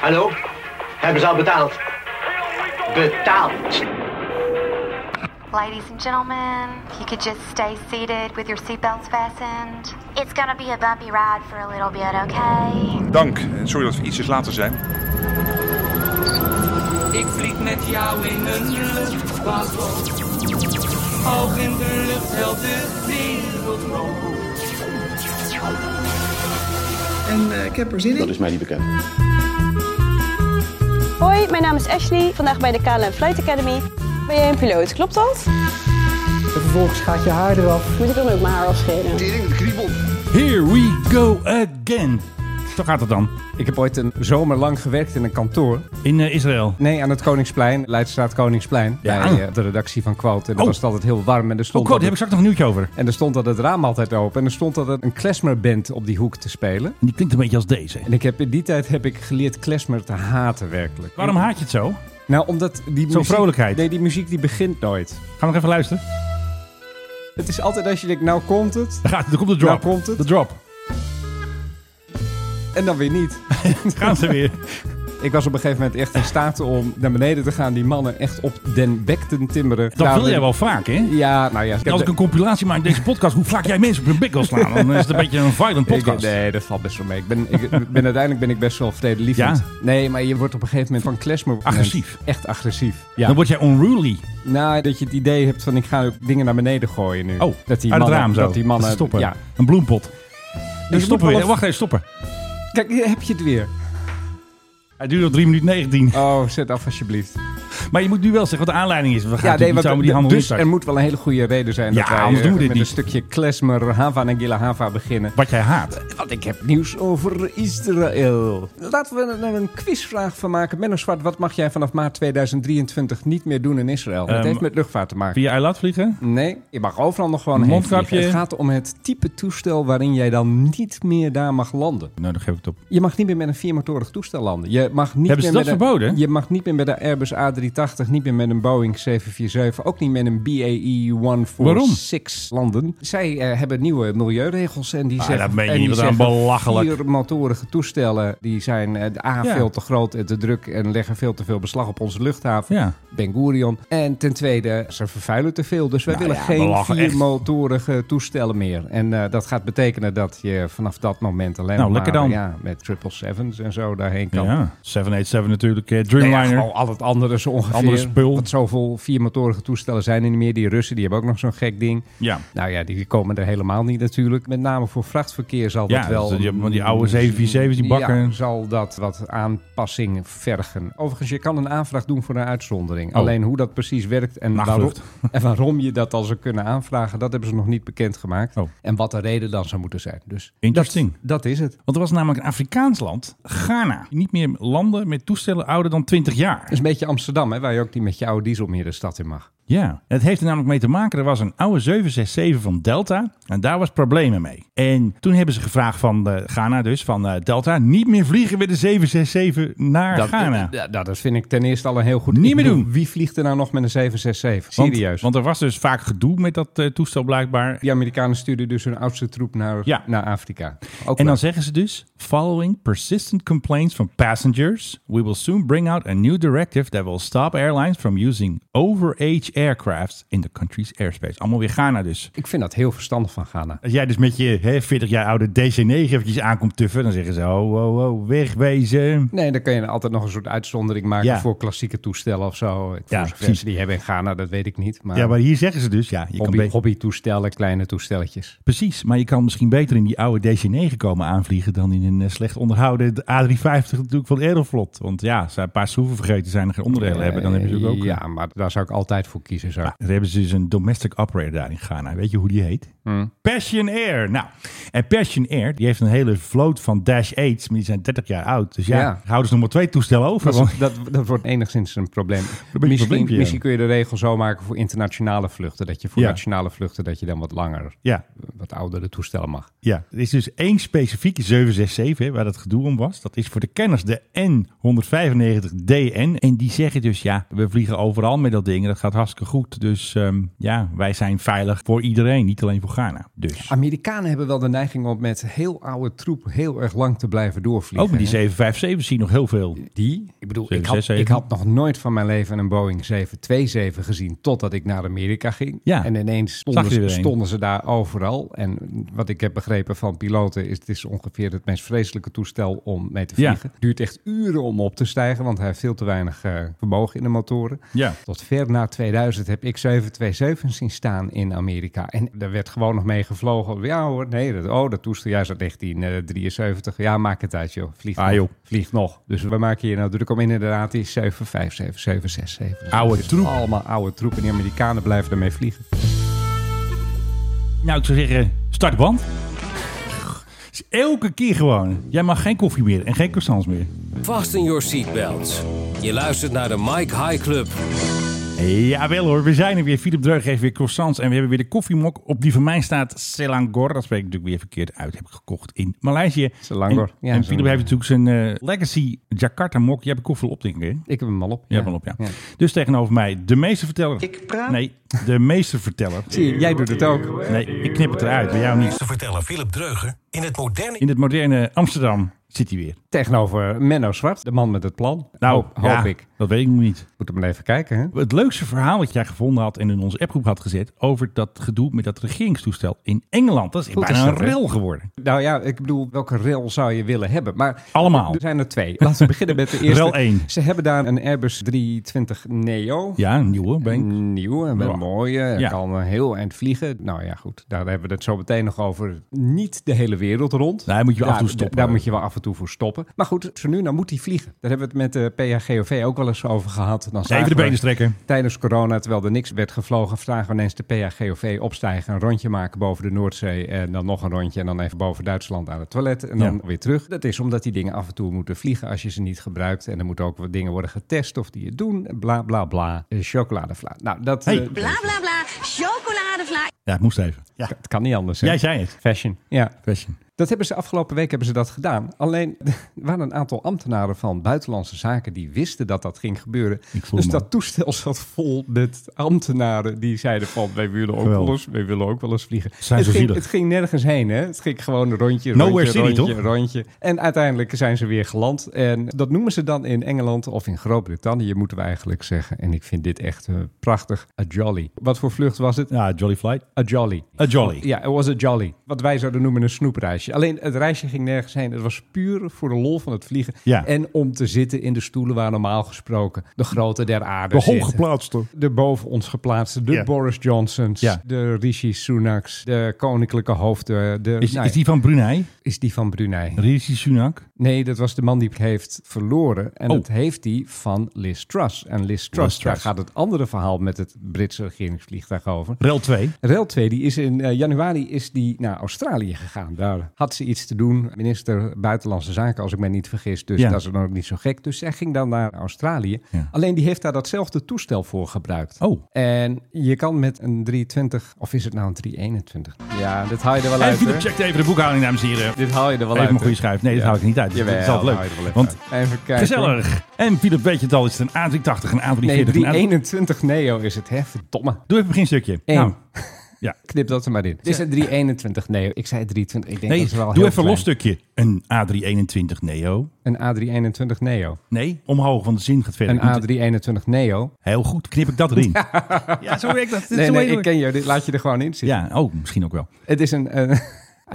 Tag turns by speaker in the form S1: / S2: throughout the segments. S1: Hallo? Hebben ze al betaald? Betaald.
S2: Ladies and gentlemen, if you could just stay seated with your seatbelts fastened. It's gonna be a bumpy ride for a little bit, okay?
S3: Dank. En Sorry dat we ietsjes later zijn.
S4: Ik vlieg met jou in een luchtballon. Hoog in de lucht helpt de wereld rond.
S5: En eh, ik heb er zin in.
S6: Dat is mij niet bekend.
S7: Hoi, mijn naam is Ashley. Vandaag bij de KLM Flight Academy. Ben jij een piloot, klopt dat?
S5: En vervolgens gaat je haar eraf.
S7: Moet ik dan ook mijn haar afscheren?
S8: Here we go again. Zo gaat het dan. Oh,
S9: Ik heb ooit een zomer lang gewerkt in een kantoor.
S8: In eh, Israël.
S9: Nee, aan het Koningsplein, Leidstraat Koningsplein.
S8: Ja.
S9: Bij eh, de redactie van Quote. En dan
S8: Oh.
S9: was het altijd heel warm. En er
S8: Oh,
S9: stond,
S8: God, daar heb ik straks
S9: altijd-
S8: nog een nieuwtje over.
S9: en er stond dat het raam altijd open. En er stond dat een klezmerband op die hoek te spelen.
S8: Die klinkt een beetje als deze.
S9: En ik heb, in die tijd heb ik geleerd klezmer te haten werkelijk.
S8: Waarom haat je het zo? Gaan
S9: Nou, omdat die muziek...
S8: vrolijkheid.
S9: Nee, die muziek die begint nooit.
S8: we nog even luisteren?
S9: Het is altijd als je denkt, nou komt het.
S8: Daar, gaat, daar komt de drop.
S9: Nou komt het.
S8: De drop.
S9: En dan weer niet.
S8: Gaan ze weer.
S9: Ik was op een gegeven moment echt in staat om naar beneden te gaan. Die mannen echt op den bek te timmeren.
S8: Dat
S9: Daar
S8: wil jij
S9: ben
S8: wel vaak, hè?
S9: ik- Ja, nou ja. Ik heb
S8: Als ik
S9: de-
S8: een compilatie maak in deze podcast, hoe vaak jij mensen op hun bik wil slaan, dan is het een beetje een violent
S9: Ik-
S8: podcast.
S9: nee, dat valt best wel mee. Ik ben, ik, ben, uiteindelijk ben ik best wel vredelievend.
S8: Ja?
S9: Nee, maar je wordt op een gegeven moment van klesmer...
S8: Agressief.
S9: Echt agressief.
S8: Dan word jij Oh, onruly.
S9: Nou, dat je het idee hebt van ik ga ook dingen naar beneden gooien nu.
S8: Oh,
S9: dat die
S8: uit
S9: mannen,
S8: het raam zo.
S9: Dat die mannen...
S8: ze stoppen.
S9: Ja.
S8: Een bloempot.
S9: moet
S8: Dus stoppen
S9: wel
S8: weer.
S9: een-
S8: Wacht even, stoppen.
S9: Kijk, hier heb je het weer.
S8: Hij duurt nog 3 minuten 19.
S9: Oh, zet af alsjeblieft.
S8: Maar je moet nu wel zeggen wat de aanleiding is. We gaan ja,
S9: nee,
S8: niet
S9: want
S8: zomaar die handel
S9: dus
S8: instarten.
S9: er moet wel een hele goede reden zijn
S8: Ja,
S9: dat wij
S8: anders
S9: eh,
S8: doen we dit
S9: met
S8: niet.
S9: een stukje klesmer Hava en Gila Hava beginnen.
S8: Wat jij haat.
S9: Want ik heb nieuws over Israël. Laten we er nou een quizvraag van maken. Menno Zwart, wat mag jij vanaf maart 2023 niet meer doen in Israël? Het
S8: Ehm,
S9: heeft met luchtvaart te maken.
S8: Via Eilat vliegen?
S9: Nee, je mag overal nog gewoon heen
S8: Mondkapje.
S9: vliegen. Het gaat om het type toestel waarin jij dan niet meer daar mag landen.
S8: Nou, dan geef ik het op.
S9: Je mag niet meer met een viermotorig toestel landen. Je mag niet
S8: Hebben ze
S9: meer
S8: dat
S9: met een-
S8: verboden?
S9: Je mag niet meer met een Airbus A380, niet meer met een Boeing 747, ook niet met een E BAE 146 landen. Zij eh, hebben nieuwe milieuregels en die
S8: Ah,
S9: zeggen...
S8: dat meen je
S9: en
S8: niet,
S9: die
S8: wat een
S9: zeggen,
S8: belachelijk.
S9: Viermotorige toestellen die zijn eh, A,
S8: Ja.
S9: veel te groot en te druk en leggen veel te veel beslag op onze luchthaven.
S8: Ja.
S9: Ben Gurion. En ten tweede, ze vervuilen te veel. Dus wij
S8: Nou
S9: willen
S8: ja, we
S9: geen
S8: lachen echt.
S9: viermotorige toestellen meer. En eh, dat gaat betekenen dat je vanaf dat moment alleen
S8: Nou,
S9: maar
S8: lekker dan.
S9: Ja, met 777's en zo daarheen kan.
S8: Ja. 787 natuurlijk. eh,
S9: Nou ja,
S8: Dreamliner.
S9: gewoon al het andere zo ongeveer.
S8: Andere spul.
S9: Want zoveel viermotorige toestellen zijn er niet meer. Die Russen die hebben ook nog zo'n gek ding.
S8: ja.
S9: Nou ja, die komen er helemaal niet natuurlijk. Met name voor vrachtverkeer zal
S8: Ja,
S9: dat wel... Mm,
S8: dus die hebben die oude 747's, die bakken.
S9: Ja, zal dat wat aanpassing vergen. Overigens, je kan een aanvraag doen voor een uitzondering.
S8: Oh.
S9: Alleen hoe dat precies werkt en waarom,
S8: Nachtvlucht.
S9: en waarom je dat al zou kunnen aanvragen... dat hebben ze nog niet bekendgemaakt.
S8: Oh.
S9: En wat de reden dan zou moeten zijn. Dus
S8: Interesting.
S9: dat is het.
S8: Want er was namelijk een Afrikaans land, Ghana. Niet meer landen met toestellen ouder dan 20 jaar.
S9: Dat is een beetje Amsterdam, hè, waar je ook die met je oude diesel meer de stad in mag.
S8: Ja, het heeft er namelijk mee te maken. Er was een oude 767 van Delta en daar was problemen mee. En toen hebben ze gevraagd van eh, Ghana dus, van eh, Delta, niet meer vliegen met de 767 naar Ghana.
S9: Ja, nou, dat vind ik ten eerste al een heel goed...
S8: Niet
S9: Ik
S8: meer
S9: bedoel,
S8: doen.
S9: Wie vliegt er nou nog met een 767?
S8: Want-
S9: Serieus.
S8: Want, er was dus vaak gedoe met dat eh, toestel blijkbaar.
S9: die Amerikanen stuurden dus hun oudste troep naar,
S8: Ja.
S9: naar Afrika. Ook
S8: En dan
S9: leuk.
S8: zeggen ze dus: Following persistent complaints from passengers, we will soon bring out a new directive that will stop airlines from using overage aircrafts in the country's airspace. Allemaal weer Ghana dus.
S9: Ik vind dat heel verstandig van Ghana.
S8: Als jij dus met je hè, 40 jaar oude DC-9 eventjes aankomt tuffen, dan zeggen ze: oh, oh, oh, wegwezen.
S9: Nee, dan kun je altijd nog een soort uitzondering maken
S8: Ja.
S9: voor klassieke toestellen of zo. Ik
S8: Ja,
S9: ja,
S8: precies.
S9: mensen die hebben in Ghana, dat weet ik niet. Maar,
S8: Ja, maar hier zeggen ze dus: ja, je kan
S9: hobby,
S8: be-
S9: hobbytoestellen, kleine toestelletjes.
S8: precies, maar je kan misschien beter in die oude DC-9 komen aanvliegen dan in een eh, slecht onderhouden A350 natuurlijk van Aeroflot. Want ja, als ze een paar schroeven vergeten zijn en geen onderdelen hebben, dan hebben ze natuurlijk ook.
S9: Eh,
S8: eh,
S9: Ja, maar daar zou ik altijd voor kiezen. Zo.
S8: Ja, daar hebben ze dus een domestic operator daar in Ghana. Weet je hoe die heet?
S9: Hmm.
S8: Passion Air. Nou, en Passion Air die heeft een hele vloot van Dash 8's, maar die zijn 30 jaar oud. Dus ja,
S9: Ja.
S8: houden ze nog maar twee toestellen over.
S9: Dat,
S8: want-
S9: is- dat, dat wordt enigszins een probleem.
S8: een
S9: Misschien,
S8: probleempje, ja.
S9: misschien kun je de regel zo maken voor internationale vluchten. Dat je voor
S8: Ja.
S9: nationale vluchten dat je dan wat langer,
S8: ja,
S9: wat oudere toestellen mag.
S8: ja, er is dus één specifieke 767 hè, waar dat gedoe om was. Dat is voor de kenners de N195DN. En die zeggen dus, ja, we vliegen overal met dat ding. en Dat gaat hartstikke goed. Dus ehm, ja, wij zijn veilig voor iedereen, niet alleen voor Ghana. Dus.
S9: Amerikanen hebben wel de neiging om met heel oude troep heel erg lang te blijven doorvliegen.
S8: Ook met Oh, die
S9: Ah, hè?
S8: 757 zie je nog heel veel.
S9: Die? Ik bedoel, ik had,
S8: 767.
S9: ik had nog nooit van mijn leven een Boeing 727 gezien totdat ik naar Amerika ging.
S8: Ja.
S9: En ineens
S8: Zag
S9: stonden,
S8: je er
S9: ze-
S8: een.
S9: stonden ze daar overal. En wat ik heb begrepen van piloten is het is ongeveer het meest vreselijke toestel om mee te
S8: Ja.
S9: vliegen. Duurt echt uren om op te stijgen, want hij heeft veel te weinig eh, vermogen in de motoren.
S8: Ja.
S9: Tot ver na 2000 heb ik 727 zien staan in Amerika. En daar werd gewoon nog mee gevlogen. Ja hoor, nee, dat, oh, dat toestel, juist uit 1973. Ja, maak het uit joh, vlieg
S8: Ah,
S9: nog.
S8: joh.
S9: Vliegt nog. Dus we maken hier nou druk om inderdaad die 757, 767.
S8: Oude
S9: Dus
S8: troep.
S9: Allemaal oude troep en die Amerikanen blijven ermee vliegen.
S8: Nou, ik zou zeggen, start de band. Dus elke keer gewoon. Jij mag geen koffie meer en geen croissants meer.
S6: Fasten your seatbelts. Je luistert naar de Mike High Club.
S8: Jawel hoor, we zijn er weer. Philip Dreug geeft weer croissants en we hebben weer de koffiemok. Op die van mij staat Selangor. Dat spreek ik natuurlijk weer verkeerd uit. Heb ik gekocht in Maleisië.
S9: Selangor.
S8: En,
S9: Ja,
S8: en
S9: zo.
S8: Philip heeft natuurlijk zijn eh, Legacy Jakarta mok. Jij hebt een koffie op, denk ik. hè?
S9: Ik heb hem al op.
S8: Ja, wel op, ja. Dus tegenover mij de meesterverteller. Ik praat? Nee, de meesterverteller.
S9: Zie je, jij doet het ook.
S8: Nee, ik knip het eruit, bij jou niet.
S6: Te vertellen Philip Dreuger in het moderne
S8: In het moderne Amsterdam zit hij weer.
S9: Tegenover Menno Zwart, de man met het plan. hoop, hoop
S8: Nou, ja,
S9: ik.
S8: dat weet ik nog niet.
S9: Moet hem even kijken, hè?
S8: Het leukste verhaal dat jij gevonden had en in onze appgroep had gezet... over dat gedoe met dat regeringstoestel in Engeland. Dat is
S9: Goed
S8: bijna
S9: is dat,
S8: een
S9: hè?
S8: rel geworden.
S9: Nou ja, ik bedoel, welke rail zou je willen hebben? Maar
S8: Allemaal.
S9: er zijn er twee. Laten we beginnen met de eerste.
S8: Rail één.
S9: Ze hebben daar een Airbus 320 Neo.
S8: Ja, een nieuwe bank.
S9: Een nieuwe, wel
S8: Ja.
S9: een mooie. Hij
S8: Ja.
S9: kan een heel eind vliegen. Nou ja, goed. Daar hebben we het zo meteen nog over. Niet de hele wereld rond.
S8: Daar moet je wel af en toe
S9: d-
S8: stoppen.
S9: Daar moet je wel af en toe voor stoppen. Maar goed, zo nu, nou moet hij vliegen. Daar hebben we het met eh, de PHGOV ook wel eens over gehad. Dan zagen
S8: Even de
S9: we-
S8: benen strekken.
S9: Tijdens corona, terwijl er niks werd gevlogen, vragen we ineens de PHGOV opstijgen, een rondje maken boven de Noordzee en dan nog een rondje en dan even boven Duitsland aan het toilet en dan
S8: Ja.
S9: weer terug. Dat is omdat die dingen af en toe moeten vliegen als je ze niet gebruikt en er moeten ook wat dingen worden getest of die het doen, bla bla bla, Eh, chocoladevla. Nou, dat
S8: Hey.
S9: eh,
S10: Bla bla bla, chocoladevla.
S8: Ja, het moest even. Ja.
S9: het kan niet anders. hè?
S8: Jij zei het.
S9: Fashion. Ja.
S8: Question.
S9: Dat hebben ze afgelopen week hebben ze dat gedaan. Alleen er waren een aantal ambtenaren van buitenlandse zaken die wisten dat dat ging gebeuren.
S8: Ik voel
S9: Dus
S8: me.
S9: dat toestel zat vol met ambtenaren die zeiden van wij willen ook,
S8: Geweldig.
S9: wel eens, wij willen ook wel eens vliegen.
S8: Zijn
S9: het,
S8: zo
S9: ging,
S8: zielig.
S9: het ging nergens heen. Hè? Het ging gewoon een rondje,
S8: Nowhere
S9: rondje,
S8: City,
S9: rondje,
S8: toch?
S9: rondje. En uiteindelijk zijn ze weer geland. En dat noemen ze dan in Engeland of in Groot-Brittannië moeten we eigenlijk zeggen. En ik vind dit echt eh, prachtig. A jolly. Wat voor vlucht was het?
S8: Ja, Jolly Flight.
S9: A jolly.
S8: A Jolly.
S9: Ja, it was a jolly. Wat wij zouden noemen een snoepreisje. Alleen het reisje ging nergens heen. Het was puur voor de lol van het vliegen.
S8: Ja.
S9: En om te zitten in de stoelen waar normaal gesproken de grote der aarde
S8: De
S9: zitten.
S8: hooggeplaatste.
S9: De boven ons geplaatste, de
S8: Ja.
S9: Boris Johnsons,
S8: Ja.
S9: de Rishi Sunaks, de koninklijke hoofden. De,
S8: Is,
S9: nou
S8: is
S9: ja,
S8: die van Brunei?
S9: is die van Brunei?
S8: Rishi Sunak?
S9: Nee, dat was de man die heeft verloren. En
S8: Oh.
S9: dat heeft hij van Liz Truss. En Liz Truss,
S8: Truss.
S9: daar gaat het andere verhaal met het Britse regeringsvliegtuig over.
S8: Rel 2.
S9: Rail 2 die is in eh, januari is die naar Australië gegaan. Daar had ze iets te doen. Minister Buitenlandse Zaken, als ik mij niet vergis. Dus
S8: Ja.
S9: dat is dan ook niet zo gek. Dus zij ging dan naar Australië.
S8: Ja.
S9: Alleen die heeft daar datzelfde toestel voor gebruikt.
S8: Oh.
S9: En je kan met een 320, of is het nou een 321? Ja, dit haal je er wel
S8: En
S9: uit.
S8: Philip
S9: hoor.
S8: checkt even de boekhouding, dames en heren.
S9: Dit haal je er wel
S8: Even
S9: uit.
S8: een goede
S9: hoor.
S8: schuif. Nee, dat
S9: Ja.
S8: hou ik niet uit. Dus
S9: Jawel,
S8: dat is altijd
S9: haal je er wel
S8: leuk.
S9: even
S8: Want
S9: uit. even kijken.
S8: gezellig. En Philip, weet je het al, is het een A380, een A340,
S9: Nee,
S8: een A3-
S9: 321 Neo is het, hè? Verdomme.
S8: Doe even een beginstukje.
S9: Eén.
S8: Nou, ja.
S9: Knip dat er maar in. Het is een 321 Neo. Ik zei 320. Ik denk
S8: Nee,
S9: dat is wel
S8: doe
S9: heel
S8: even een
S9: klein.
S8: los stukje. Een A321 Neo.
S9: Een A321 Neo.
S8: Nee, omhoog, want de zin gaat verder.
S9: Een
S8: Ik moet-
S9: A321 Neo.
S8: Heel goed, knip ik dat erin. ja. zo werkt dat.
S9: Nee, nee, ik ken jou. Dit laat je er gewoon in zitten.
S8: Ja, oh, misschien ook wel.
S9: Het is een eh,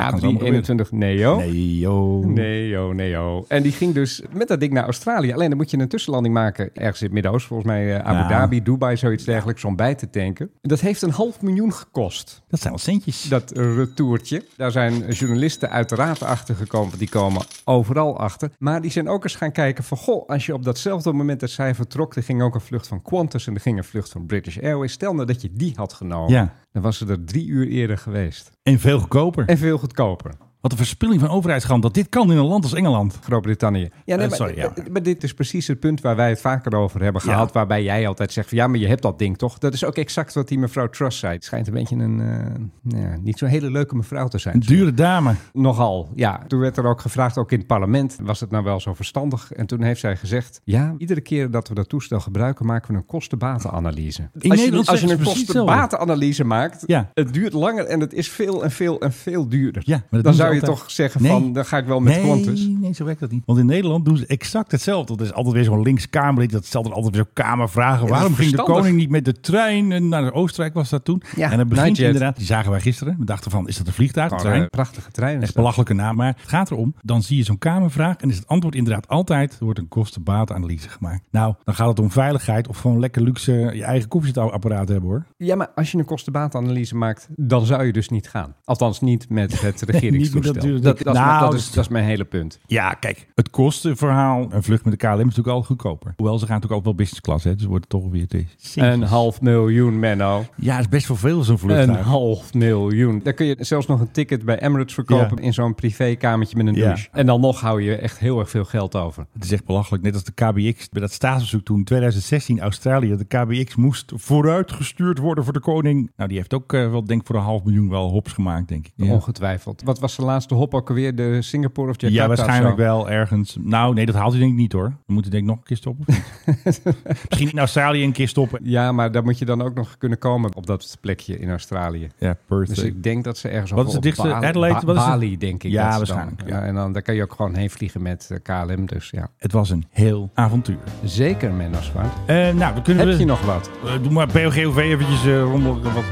S9: A321 Neo.
S8: Nee, joh.
S9: Neo, Neo. En die ging dus met dat ding naar Australië. Alleen dan moet je een tussenlanding maken ergens in het Midden-Oosten. Volgens mij eh, Abu
S8: Ja.
S9: Dhabi, Dubai, zoiets dergelijks. Om bij te tanken. Dat heeft een half miljoen gekost.
S8: Dat zijn wel centjes.
S9: dat retourtje. Daar zijn journalisten uiteraard achter gekomen, want die komen overal achter. Maar die zijn ook eens gaan kijken van, goh, als je op datzelfde moment dat zij vertrok, er ging ook een vlucht van Qantas en er ging een vlucht van British Airways. Stel nou dat je die had genomen,
S8: Ja,
S9: dan was ze er drie uur eerder geweest.
S8: en veel goedkoper.
S9: En veel goedkoper.
S8: Wat een verspilling van overheidsgeld dat dit kan in een land als Engeland.
S9: Groot-Brittannië. Ja,
S8: Eh,
S9: maar,
S8: sorry, ja.
S9: eh, maar dit is precies het punt waar wij het vaker over hebben
S8: Ja.
S9: gehad. Waarbij jij altijd zegt: van, ja, maar je hebt dat ding toch? Dat is ook exact wat die mevrouw Truss zei. Het schijnt een beetje een eh, ja, niet zo'n hele leuke mevrouw te zijn.
S8: Een dure dame.
S9: Nogal, ja. Toen werd er ook gevraagd, ook in het parlement, was het nou wel zo verstandig? En toen heeft zij gezegd, ja, iedere keer dat we dat toestel gebruiken, maken we een kostenbatenanalyse. Als je-
S8: Nederland
S9: als je
S8: zeggen
S9: een
S8: ze precies hetzelfde.
S9: kostenbatenanalyse maakt,
S8: Ja.
S9: het duurt langer en het is veel en veel en veel duurder.
S8: Ja, maar dat
S9: dan
S8: doen ze
S9: zou je
S8: altijd.
S9: toch zeggen
S8: Nee.
S9: van, dan ga ik wel met
S8: nee,
S9: Qantas.
S8: Nee, zo werkt dat niet. Want in Nederland doen ze exact hetzelfde. Dat is altijd weer zo'n links Kamerlid. Dat stelt er altijd weer zo'n Kamervragen.
S9: is
S8: Waarom ging de
S9: verstandig.
S8: koning niet met de trein En naar Oostenrijk? Was dat toen?
S9: Ja,
S8: en dan begint
S9: Nightjet.
S8: inderdaad. Die zagen wij gisteren. We dachten van, is dat een vliegtuig? Een
S9: Oh,
S8: trein?
S9: eh, prachtige trein. is
S8: Echt
S9: dat.
S8: belachelijke naam, maar het gaat erom. Dan zie je zo'n Kamervraag en is het antwoord inderdaad altijd... er wordt een kostenbaatanalyse gemaakt. Nou, dan gaat het om veiligheid of gewoon lekker luxe je eigen koffiezetapparaat hebben hoor.
S9: Ja, maar als je een kostenbatenanalyse maakt, dan zou je dus niet gaan. Althans, niet met het
S8: Niet
S9: regeringstoestel.
S8: met dat duur-
S9: dat, dat, is-
S8: Nou,
S9: dat is,
S8: dat-
S9: dat is mijn hele punt.
S8: Ja, kijk, het kostenverhaal. Een vlucht met de KLM is natuurlijk al goedkoper. Hoewel, ze gaan natuurlijk ook wel business class, hè, dus wordt het toch weer... Het
S9: Een half miljoen, Menno.
S8: Ja, dat is best wel veel zo'n
S9: Een
S8: vlucht.
S9: half miljoen. Daar kun je zelfs nog een ticket bij Emirates verkopen
S8: Ja.
S9: in zo'n privékamertje met een
S8: Ja.
S9: douche. En dan nog hou je echt heel erg veel geld over.
S8: Het is echt belachelijk. Net als de KBX bij dat staatsbezoek toen 2016 Australië. De KBX moest vooruitgestuurd worden voor de koning. Nou, die heeft ook eh, wel, denk ik, voor een half miljoen wel hops gemaakt, denk ik. Ja.
S9: Ongetwijfeld. Wat was de laatste hop ook alweer? De Singapore of Jakarta?
S8: Ja, waarschijnlijk
S9: of zo?
S8: wel ergens. Nou, nee, dat haalt hij denk ik niet hoor. Dan moet hij denk ik nog een keer stoppen. of niet? Misschien in Australië een keer stoppen.
S9: Ja, maar daar moet je dan ook nog kunnen komen op dat plekje in Australië.
S8: Ja, Perth.
S9: Dus ik denk dat ze ergens
S8: Wat
S9: op-
S8: is het
S9: op
S8: dichtste?
S9: Bali,
S8: Adelaide?
S9: Ba-
S8: Wat is het?
S9: Bali, denk ik.
S8: Ja,
S9: dat ze
S8: waarschijnlijk,
S9: Dan,
S8: ja.
S9: ja. en dan daar kan je ook gewoon heen vliegen met eh, KLM. Dus ja,
S8: Het was een heel avontuur.
S9: zeker Menno Zwart.
S8: Eh, nou, dan kunnen
S9: Heb
S8: we...
S9: je nog wat?
S8: Eh, doe maar POGOV eventjes eh rommel. Wat...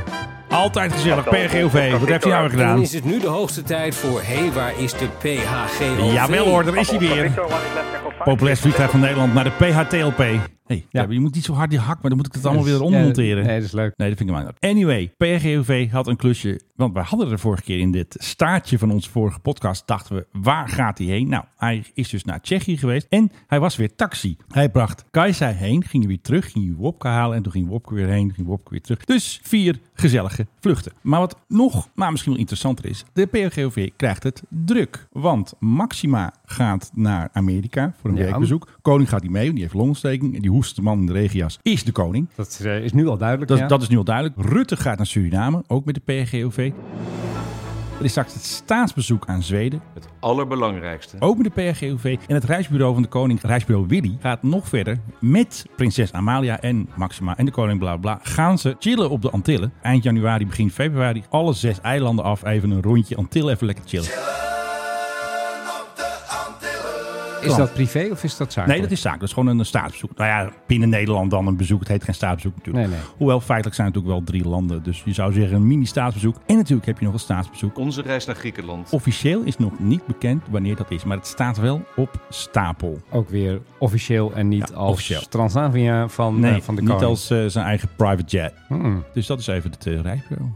S8: Altijd gezellig, POGOV. Wat heb je
S6: Dan
S8: nou weer gedaan?
S6: is het nu de hoogste tijd voor... Hé, hey, waar is de PHGOV?
S8: Jawel hoor, daar is hij weer. Populair vliegtuig van Nederland naar de PHTLP. hey,
S9: Ja.
S8: je moet niet zo hard die hak, maar dan moet ik het allemaal weer
S9: Ja,
S8: ondermonteren.
S9: Nee, dat is leuk.
S8: Nee, dat vind ik maar Anyway, PGOV had een klusje. Want we hadden er vorige keer in dit staartje van onze vorige podcast. Dachten we, waar gaat hij heen? Nou, hij is dus naar Tsjechië geweest. En hij was weer taxi. Hij bracht Kajsa heen, ging weer terug, ging hij Wopke halen. En toen ging Wopke weer heen, ging Wopke weer terug. Dus vier gezellige vluchten. Maar wat nog, maar misschien wel interessanter is. De PGOV krijgt het druk. Want Maxima gaat naar Amerika voor een
S9: Ja.
S8: werkbezoek. Koning gaat die mee, want die heeft longontsteking. En die hoest de man in de regenjas is de koning.
S9: Dat eh, is nu al duidelijk.
S8: Dat,
S9: ja.
S8: dat is nu al duidelijk. Rutte gaat naar Suriname, ook met de PRGOV. Er is straks het staatsbezoek aan Zweden,
S11: Het allerbelangrijkste.
S8: ook met de PRGOV. En het reisbureau van de koning, reisbureau Willy, gaat nog verder met prinses Amalia en Maxima en de koning bla bla. bla. Gaan ze chillen op de Antillen. Eind januari, begin februari, alle zes eilanden af. Even een rondje Antillen, even lekker chillen.
S9: Is dat privé of is dat zakelijk?
S8: Nee, dat is zaak. Dat is gewoon een eh, staatsbezoek. Nou ja, binnen Nederland dan een bezoek. Het heet geen staatsbezoek natuurlijk.
S9: Nee, nee.
S8: Hoewel feitelijk zijn het natuurlijk wel drie landen. Dus je zou zeggen een mini-staatsbezoek. En natuurlijk heb je nog een staatsbezoek
S11: Onze reis naar Griekenland.
S8: Officieel is nog niet bekend wanneer dat is, maar het staat wel op stapel.
S9: Ook weer officieel en niet
S8: Ja,
S9: als
S8: officieel.
S9: Transavia van, eh, van de
S8: niet
S9: koning.
S8: als eh, zijn eigen private jet.
S9: Hmm.
S8: Dus dat is even het eh, reisbureau.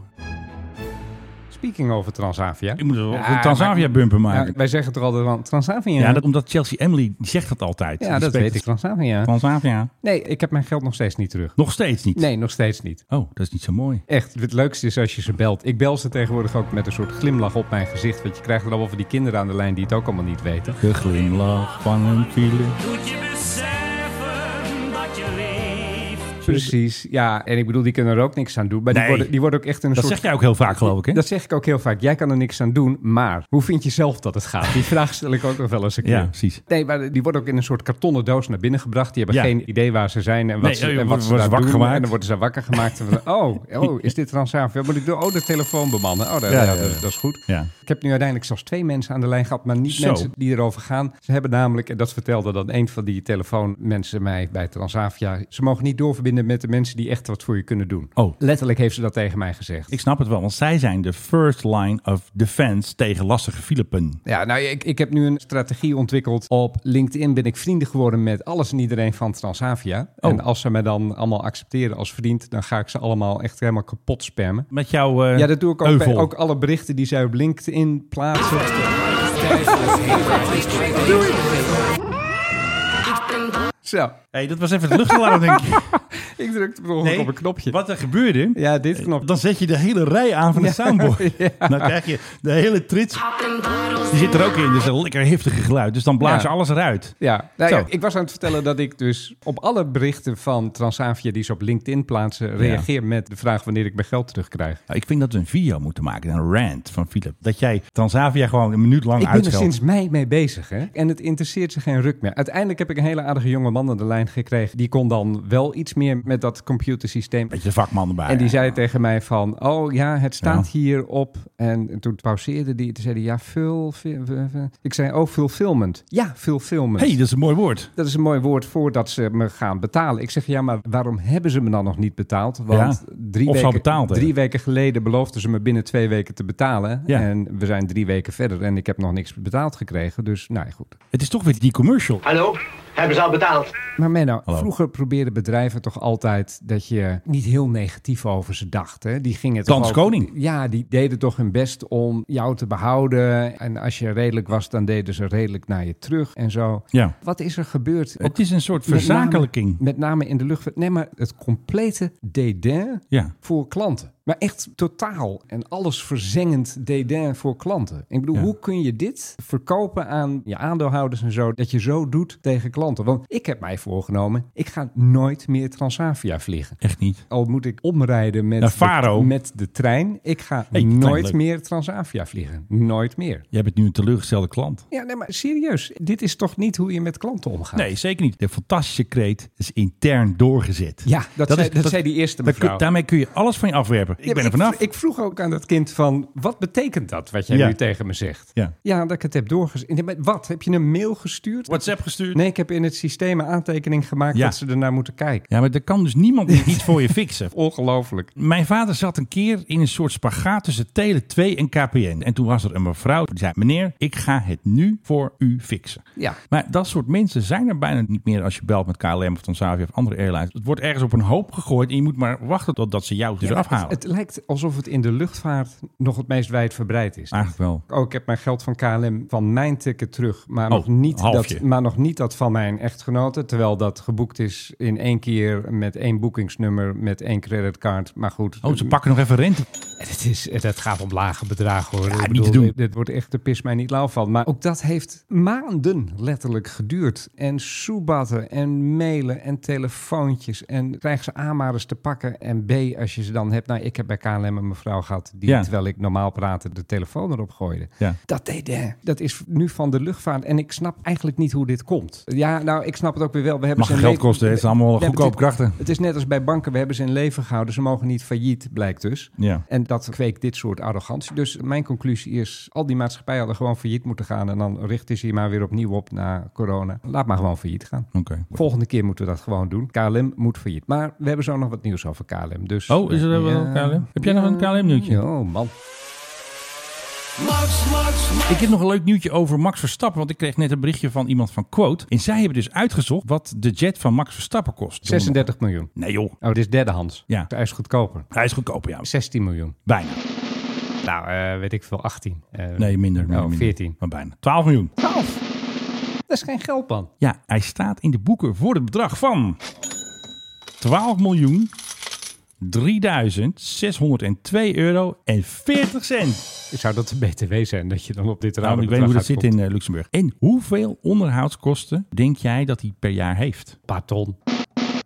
S9: Speaking over Transavia.
S8: Ik moet wel
S9: Ja,
S8: een Transavia bumper
S9: maar-
S8: maken.
S9: ja, wij zeggen toch altijd van Transavia?
S8: Ja, dat, omdat Chelsea Emily die zegt dat altijd.
S9: Ja,
S8: Die
S9: dat
S8: spreekt
S9: weet ik. Transavia.
S8: Transavia.
S9: Nee, ik heb mijn geld nog steeds niet terug.
S8: Nog steeds niet.
S9: Nee, nog steeds niet.
S8: Oh, dat is niet zo mooi.
S9: Echt, het leukste is als je ze belt. Ik bel ze tegenwoordig ook met een soort glimlach op mijn gezicht. Want je krijgt er allemaal van die kinderen aan de lijn die het ook allemaal niet weten.
S8: De glimlach van een file.
S4: Moet je beseffen dat je leeft.
S9: Precies, ja. En ik bedoel, die kunnen er ook niks aan doen. Maar
S8: Nee.
S9: die, worden, die worden ook echt in een
S8: Dat
S9: soort...
S8: zeg jij ook heel vaak, geloof ik, hè?
S9: Dat zeg ik ook heel vaak. Jij kan er niks aan doen, maar hoe vind je zelf dat het gaat? Die vraag stel ik ook nog wel eens een keer.
S8: Ja, precies.
S9: Nee, maar die worden ook in een soort kartonnen doos naar binnen gebracht. Die hebben
S8: Ja.
S9: geen idee waar ze zijn en wat
S8: Nee,
S9: ze,
S8: eh,
S9: en wat
S8: worden
S9: ze
S8: ze
S9: daar
S8: wakker
S9: doen.
S8: gemaakt.
S9: En dan worden ze wakker gemaakt. en van, oh, oh, is dit Transavia? Wat moet ik doen? Oh, de telefoon bemannen. Oh,
S8: Ja,
S9: dat, ja,
S8: ja, ja.
S9: dat, dat is goed.
S8: Ja.
S9: Ik heb nu uiteindelijk zelfs twee mensen aan de lijn gehad, maar niet
S8: Zo.
S9: mensen die erover gaan. Ze hebben namelijk, en dat vertelde dan een van die telefoonmensen mij bij Transavia, ze mogen niet doorverbinden met de mensen die echt wat voor je kunnen doen.
S8: Oh.
S9: Letterlijk heeft ze dat tegen mij gezegd.
S8: Ik snap het wel, want zij zijn de first line of defense tegen lastige Filippen.
S9: Ja, nou, ik, ik heb nu een strategie ontwikkeld. Op LinkedIn ben ik vrienden geworden met alles en iedereen van Transavia.
S8: Oh.
S9: En als ze mij dan allemaal accepteren als vriend, dan ga ik ze allemaal echt helemaal kapot spammen.
S8: Met jouw eh,
S9: ja, dat doe ik ook.
S8: euvel.
S9: bij- ook alle berichten die zij op LinkedIn plaatsen. Zo.
S8: hey, dat was even het luchtalarm, denk ik.
S9: ik drukte per ongeluk
S8: Nee,
S9: op een knopje.
S8: Wat er gebeurde,
S9: Ja, dit knop.
S8: dan zet je de hele rij aan van het
S9: Ja,
S8: soundboard.
S9: ja.
S8: Dan krijg je de hele trits. Die zit er ook in, dus een lekker heftige geluid. Dus dan blaas je
S9: Ja.
S8: alles eruit.
S9: Ja, nou
S8: Zo.
S9: ja, ik was aan het vertellen dat ik dus op alle berichten van Transavia die ze op LinkedIn plaatsen, reageer met de vraag wanneer ik mijn geld terugkrijg.
S8: Nou, ik vind dat we een video moeten maken, een rant van Philip. Dat jij Transavia gewoon een minuut lang
S9: Ik ben er
S8: uitscheldt.
S9: sinds mei mee bezig, hè? En het interesseert ze geen ruk meer. Uiteindelijk heb ik een hele aardige jonge man aan de lijn gekregen. Die kon dan wel iets meer met dat computersysteem.
S8: Beetje de vakman erbij.
S9: En die
S8: hè?
S9: zei tegen mij van, oh ja, het staat hierop. En toen pauzeerde die, toen zei hij, ja, vul, vul- vul- vul. Ik zei, oh, fulfillment. Ja, fulfillment.
S8: hey, dat is een mooi woord.
S9: Dat is een mooi woord voordat ze me gaan betalen. Ik zeg, ja, maar waarom hebben ze me dan nog niet betaald? Want
S8: Ja,
S9: drie,
S8: of ze al
S9: weken,
S8: betaald hebben.
S9: drie weken geleden beloofden ze me binnen twee weken te betalen.
S8: Ja.
S9: En we zijn drie weken verder en ik heb nog niks betaald gekregen. Dus, nou ja, goed.
S8: Het is toch weer die commercial.
S1: Hallo? Hebben ze al betaald?
S9: Maar Menno,
S8: Hallo.
S9: vroeger probeerden bedrijven toch altijd dat je niet heel negatief over ze dacht. Hè? Die gingen
S8: Dans
S9: toch ook-
S8: koning.
S9: Ja, die deden toch hun best om jou te behouden. En als je redelijk was, dan deden ze redelijk naar je terug en zo.
S8: Ja.
S9: Wat is er gebeurd? Ook
S8: Het is een soort
S9: met name-
S8: verzakelijking.
S9: Met name, in de lucht. Nee, maar het complete dédain
S8: Ja.
S9: voor klanten. Maar echt totaal en alles verzengend dédain voor klanten. Ik bedoel,
S8: Ja.
S9: hoe kun je dit verkopen aan je aandeelhouders en zo, dat je zo doet tegen klanten? Want ik heb mij voorgenomen, ik ga nooit meer Transavia vliegen.
S8: Echt niet.
S9: Al moet ik omrijden met,
S8: Naar
S9: de,
S8: Faro.
S9: met de trein, ik ga
S8: Hey,
S9: nooit
S8: leuk.
S9: meer Transavia vliegen. Nooit meer.
S8: Jij bent nu een teleurgestelde klant.
S9: Ja, nee, maar serieus, dit is toch niet hoe je met klanten omgaat?
S8: Nee, zeker niet. De fantastische kreet is intern doorgezet.
S9: Ja, dat zei- dat zei die eerste
S8: dat kun-
S9: mevrouw.
S8: daarmee kun je alles van je afwerpen. Ik
S9: Ja,
S8: ben er
S9: maar
S8: vanaf.
S9: Ik vroeg ook aan dat kind van, wat betekent dat wat jij
S8: Ja.
S9: nu tegen me zegt?
S8: Ja.
S9: dat ik het heb doorgestuurd. Nee, maar Wat? Heb je een mail gestuurd?
S8: WhatsApp gestuurd.
S9: Nee, ik heb in het systeem een aantekening gemaakt
S8: Ja.
S9: dat ze ernaar moeten kijken.
S8: Ja, maar er kan dus niemand iets voor je fixen.
S9: Ongelooflijk.
S8: Mijn vader zat een keer in een soort spagaat tussen Tele 2 en KPN. En toen was er een mevrouw die zei: Meneer, ik ga het nu voor u fixen.
S9: Ja.
S8: Maar dat soort mensen zijn er bijna niet meer als je belt met KLM of Transavia of andere airlines. Het wordt ergens op een hoop gegooid en je moet maar wachten totdat ze jou dus eraf halen.
S9: Het, het lijkt alsof het in de luchtvaart nog het meest wijdverbreid is.
S8: Eigenlijk wel.
S9: Oh, ik heb mijn geld van KLM van mijn ticket terug, maar,
S8: Oh,
S9: nog niet
S8: halfje.
S9: dat, maar nog niet dat van mijn echtgenote. Terwijl dat geboekt is in één keer met één boekingsnummer, met één creditcard. Maar goed.
S8: Oh, ze pakken nog even rente.
S9: Het, is, het gaat om lage bedragen hoor. Ik
S8: niet te doen.
S9: Dit, dit wordt echt de pis mij niet lauw van. Maar ook dat heeft maanden letterlijk geduurd. En soebatten en mailen en telefoontjes. En krijg ze A maar eens te pakken. En B als je ze dan hebt. Nou, ik heb bij KLM een mevrouw gehad die
S8: Ja.
S9: terwijl ik normaal praatte de telefoon erop gooide.
S8: Ja.
S9: Dat deed hè. Dat is nu van de luchtvaart. En ik snap eigenlijk niet hoe dit komt. Ja, nou, ik snap het ook weer wel. We hebben
S8: Mag
S9: ze in
S8: geld
S9: leven-
S8: kosten, hè? Het zijn allemaal
S9: We hebben
S8: goedkope
S9: het-
S8: krachten.
S9: Het is net als bij banken. We hebben ze in leven gehouden. Ze mogen niet failliet, blijkt dus.
S8: Ja.
S9: En dat kweekt dit soort arrogantie. Dus mijn conclusie is, al die maatschappijen hadden gewoon failliet moeten gaan. En dan richten ze je maar weer opnieuw op na corona. Laat maar gewoon failliet gaan.
S8: Oké.
S9: Volgende keer moeten we dat gewoon doen. KLM moet failliet. Maar we hebben zo nog wat nieuws over KLM. Dus,
S8: Oh, is er wel
S9: Ja.
S8: KLM? Heb jij nog een KLM nieuwtje?
S9: Oh man.
S8: Ik heb nog een leuk nieuwtje over Max Verstappen. Want ik kreeg net een berichtje van iemand van Quote. En zij hebben dus uitgezocht wat de jet van Max Verstappen kost.
S9: 36 miljoen.
S8: Nee joh,
S9: Oh, dit is derdehands.
S8: Ja.
S9: Hij is goedkoper.
S8: hij is goedkoper ja.
S9: 16 miljoen.
S8: Bijna.
S9: Nou, eh, weet ik veel, 18. Eh,
S8: Nee, minder.
S9: Oh,
S8: minder, minder.
S9: 14.
S8: Maar bijna. 12 miljoen.
S9: 12. Dat is geen geld, man.
S8: Ja, hij staat in de boeken voor het bedrag van 12 miljoen 3602 euro en 40 cent.
S9: Zou dat de BTW zijn, dat je dan op dit raam
S8: Nou, ik weet niet hoe dat zit in eh, Luxemburg. En hoeveel onderhoudskosten denk jij dat hij per jaar heeft?
S9: Paar ton.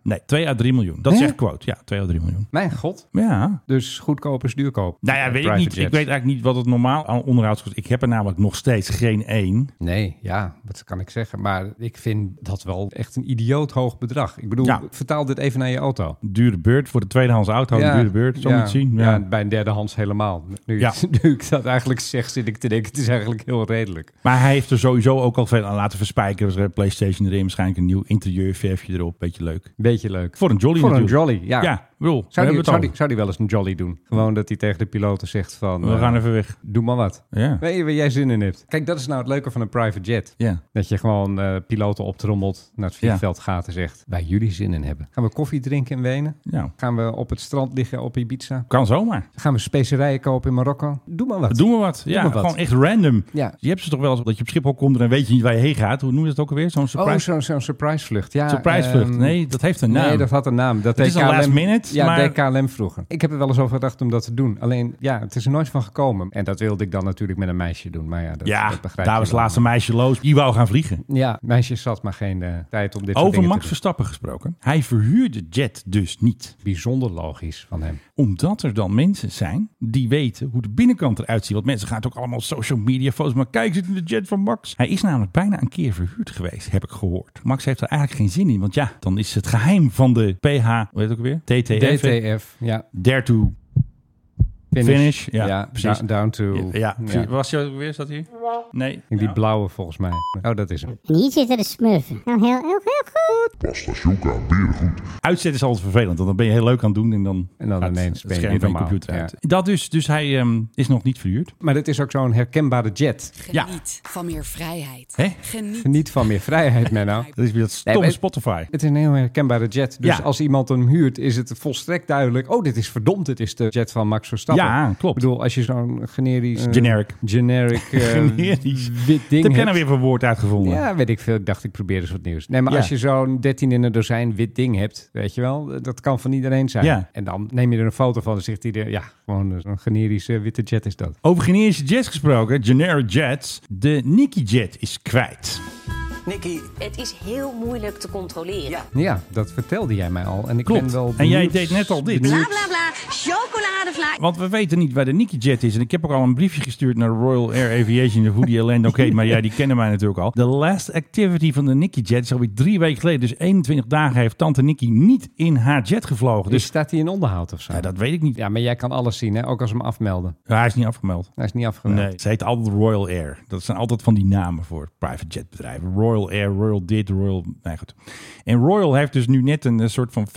S8: Nee, 2 à 3 miljoen. Dat
S9: Hè?
S8: zegt quote. Ja, 2 à 3 miljoen.
S9: Mijn god.
S8: Ja.
S9: Dus goedkoop is duurkoop.
S8: Nou ja,
S9: Eh,
S8: weet ik
S9: private
S8: niet. Ik
S9: jets.
S8: weet eigenlijk niet wat het normaal aan onderhoud kost. Ik heb er namelijk nog steeds geen één.
S9: Nee, ja, wat kan ik zeggen? Maar ik vind dat wel echt een idioot hoog bedrag. Ik bedoel,
S8: Ja.
S9: vertaal dit even naar je auto.
S8: Dure beurt voor de tweedehands auto. Een dure beurt, zo
S9: ja,
S8: moet je het zien.
S9: Ja.
S8: Ja.
S9: bij een derdehands helemaal. Nu,
S8: Ja.
S9: nu ik dat eigenlijk zeg, zit ik te denken, het is eigenlijk heel redelijk.
S8: Maar hij heeft er sowieso ook al veel aan laten verspijken. Dus, eh, PlayStation erin, waarschijnlijk een nieuw interieurverfje erop. Beetje leuk.
S9: Beetje leuk.
S8: Voor een jolly
S9: Voor een
S8: natuurlijk.
S9: jolly, ja.
S8: Ja, bedoel, we
S9: zou,
S8: hebben
S9: die,
S8: het
S9: zou,
S8: al.
S9: die, zou die wel eens een jolly doen? Gewoon dat hij tegen de piloten zegt van...
S8: We
S9: eh,
S8: gaan even weg.
S9: Doe maar wat.
S8: Ja.
S9: Weet je waar jij zin in hebt? Kijk, dat is nou het leuke van een private jet.
S8: Ja.
S9: Dat je gewoon eh, piloten optrommelt, naar het vliegveld gaat en zegt... Waar jullie zin in hebben. Gaan we koffie drinken in Wenen?
S8: Ja.
S9: Gaan we op het strand liggen op Ibiza?
S8: Nou, Kan zomaar.
S9: Gaan we specerijen kopen in Marokko? Doe maar wat.
S8: Doen we wat.
S9: Doe
S8: ja,
S9: maar wat.
S8: gewoon echt random.
S9: Ja.
S8: Je hebt ze toch wel eens dat je op Schiphol komt en dan weet je niet waar je heen gaat. Hoe noem je dat ook alweer? Zo'n
S9: Oh,
S8: surprise.
S9: zo'n zo'n surprise vlucht. Ja,
S8: Surprise vlucht.
S9: ehm,
S8: Nee, dat heeft een naam.
S9: Nee, dat had een naam. Dat
S8: Het is
S9: deed
S8: een last
S9: KLM
S8: minute,
S9: Ja,
S8: maar-
S9: deed KLM vroeger. Ik heb er wel eens over gedacht om dat te doen. Alleen, ja, het is er nooit van gekomen. En dat wilde ik dan natuurlijk met een meisje doen. Maar ja, dat,
S8: ja,
S9: dat begrijp
S8: daar
S9: je
S8: was het
S9: wel.
S8: laatste meisje loos. Die wou gaan vliegen.
S9: Ja, meisjes zat maar geen eh, tijd om dit soort
S8: Over
S9: dingen
S8: Max
S9: te doen.
S8: Verstappen gesproken. Hij verhuurde Jet dus niet.
S9: Bijzonder logisch van hem.
S8: Omdat er dan mensen zijn die weten hoe de binnenkant eruit ziet. Want mensen gaan het ook allemaal op social media foto's. Maar kijk, zit in de jet van Max. Hij is namelijk bijna een keer verhuurd geweest, heb ik gehoord. Max heeft er eigenlijk geen zin in. Want ja, dan is het geheim van de PH, hoe heet het ook weer? TTF. hè?
S9: DTF, ja.
S8: Dare to finish. Ja, precies.
S9: da- Down to...
S8: Ja, ja, precies. was je ook weer? Zat hier? Nee.
S9: Die blauwe volgens mij. Oh, dat is hem.
S12: Hier zitten de smurfen. Nou, heel, heel, heel goed.
S8: Uitzet is altijd vervelend, want dan ben je heel leuk aan het doen en dan,
S9: En dan
S8: gaat
S9: ineens
S8: het
S9: ben je
S8: scherm
S9: niet
S8: van je
S9: normaal.
S8: computer uit.
S9: Ja.
S8: Dat dus, dus hij ehm, is nog niet verhuurd.
S9: Maar dit is ook zo'n herkenbare jet.
S13: Geniet van meer vrijheid.
S8: Hè?
S13: Geniet.
S9: Geniet van meer vrijheid, Menno.
S8: Dat is weer dat stomme
S9: maar-
S8: Spotify.
S9: Het is een heel herkenbare jet. Dus
S8: Ja.
S9: als iemand hem huurt, is het volstrekt duidelijk. Oh, dit is verdomd. Dit is de jet van Max Verstappen.
S8: Ja, klopt.
S9: Ik bedoel, als je zo'n generisch... eh,
S8: Generic.
S9: Generic. eh,
S8: Generisch. Wat
S9: Wit ding
S8: heb jij
S9: hebt.
S8: nou weer voor woord uitgevonden?
S9: Ja, weet ik veel. Ik dacht, ik probeer eens wat nieuws. Nee, maar
S8: Ja.
S9: als je zo'n 13 in een dozijn wit ding hebt, weet je wel, eh, dat kan van iedereen zijn.
S8: Ja.
S9: En dan neem je er een foto van en zegt iedereen, ja, gewoon een generische witte jet is dat.
S8: Over generische jets gesproken, generic jets. De Nicky Jet is kwijt.
S14: Nicky. Het is heel moeilijk te controleren. Ja.
S9: Ja, dat vertelde jij mij al. En ik
S8: Klopt.
S9: ben wel
S8: En jij
S9: benieuwd-
S8: deed net al dit.
S9: benieuwd-
S10: Bla bla, chocoladevlaai.
S8: Want we weten niet waar de Nicky Jet is. En ik heb ook al een briefje gestuurd naar Royal Air Aviation. Hoe die Orlando Oké, maar ja, die kennen mij natuurlijk al. De last activity van de Nicky Jet is alweer drie weken geleden. Dus 21 dagen heeft tante Nicky niet in haar jet gevlogen.
S9: Dus
S8: Dus nou,
S9: staat hij in onderhoud of zo? Ja,
S8: dat weet ik niet.
S9: Ja, maar jij kan alles zien, hè? ook als we hem afmelden.
S8: Ja, hij is niet afgemeld.
S9: Hij is niet afgemeld.
S8: Nee, ze heet altijd Royal Air. Dat zijn altijd van die namen voor private jetbedrijven. Royal Air, Royal dit, Royal... Nee, goed. En Royal heeft dus nu net een eh, soort van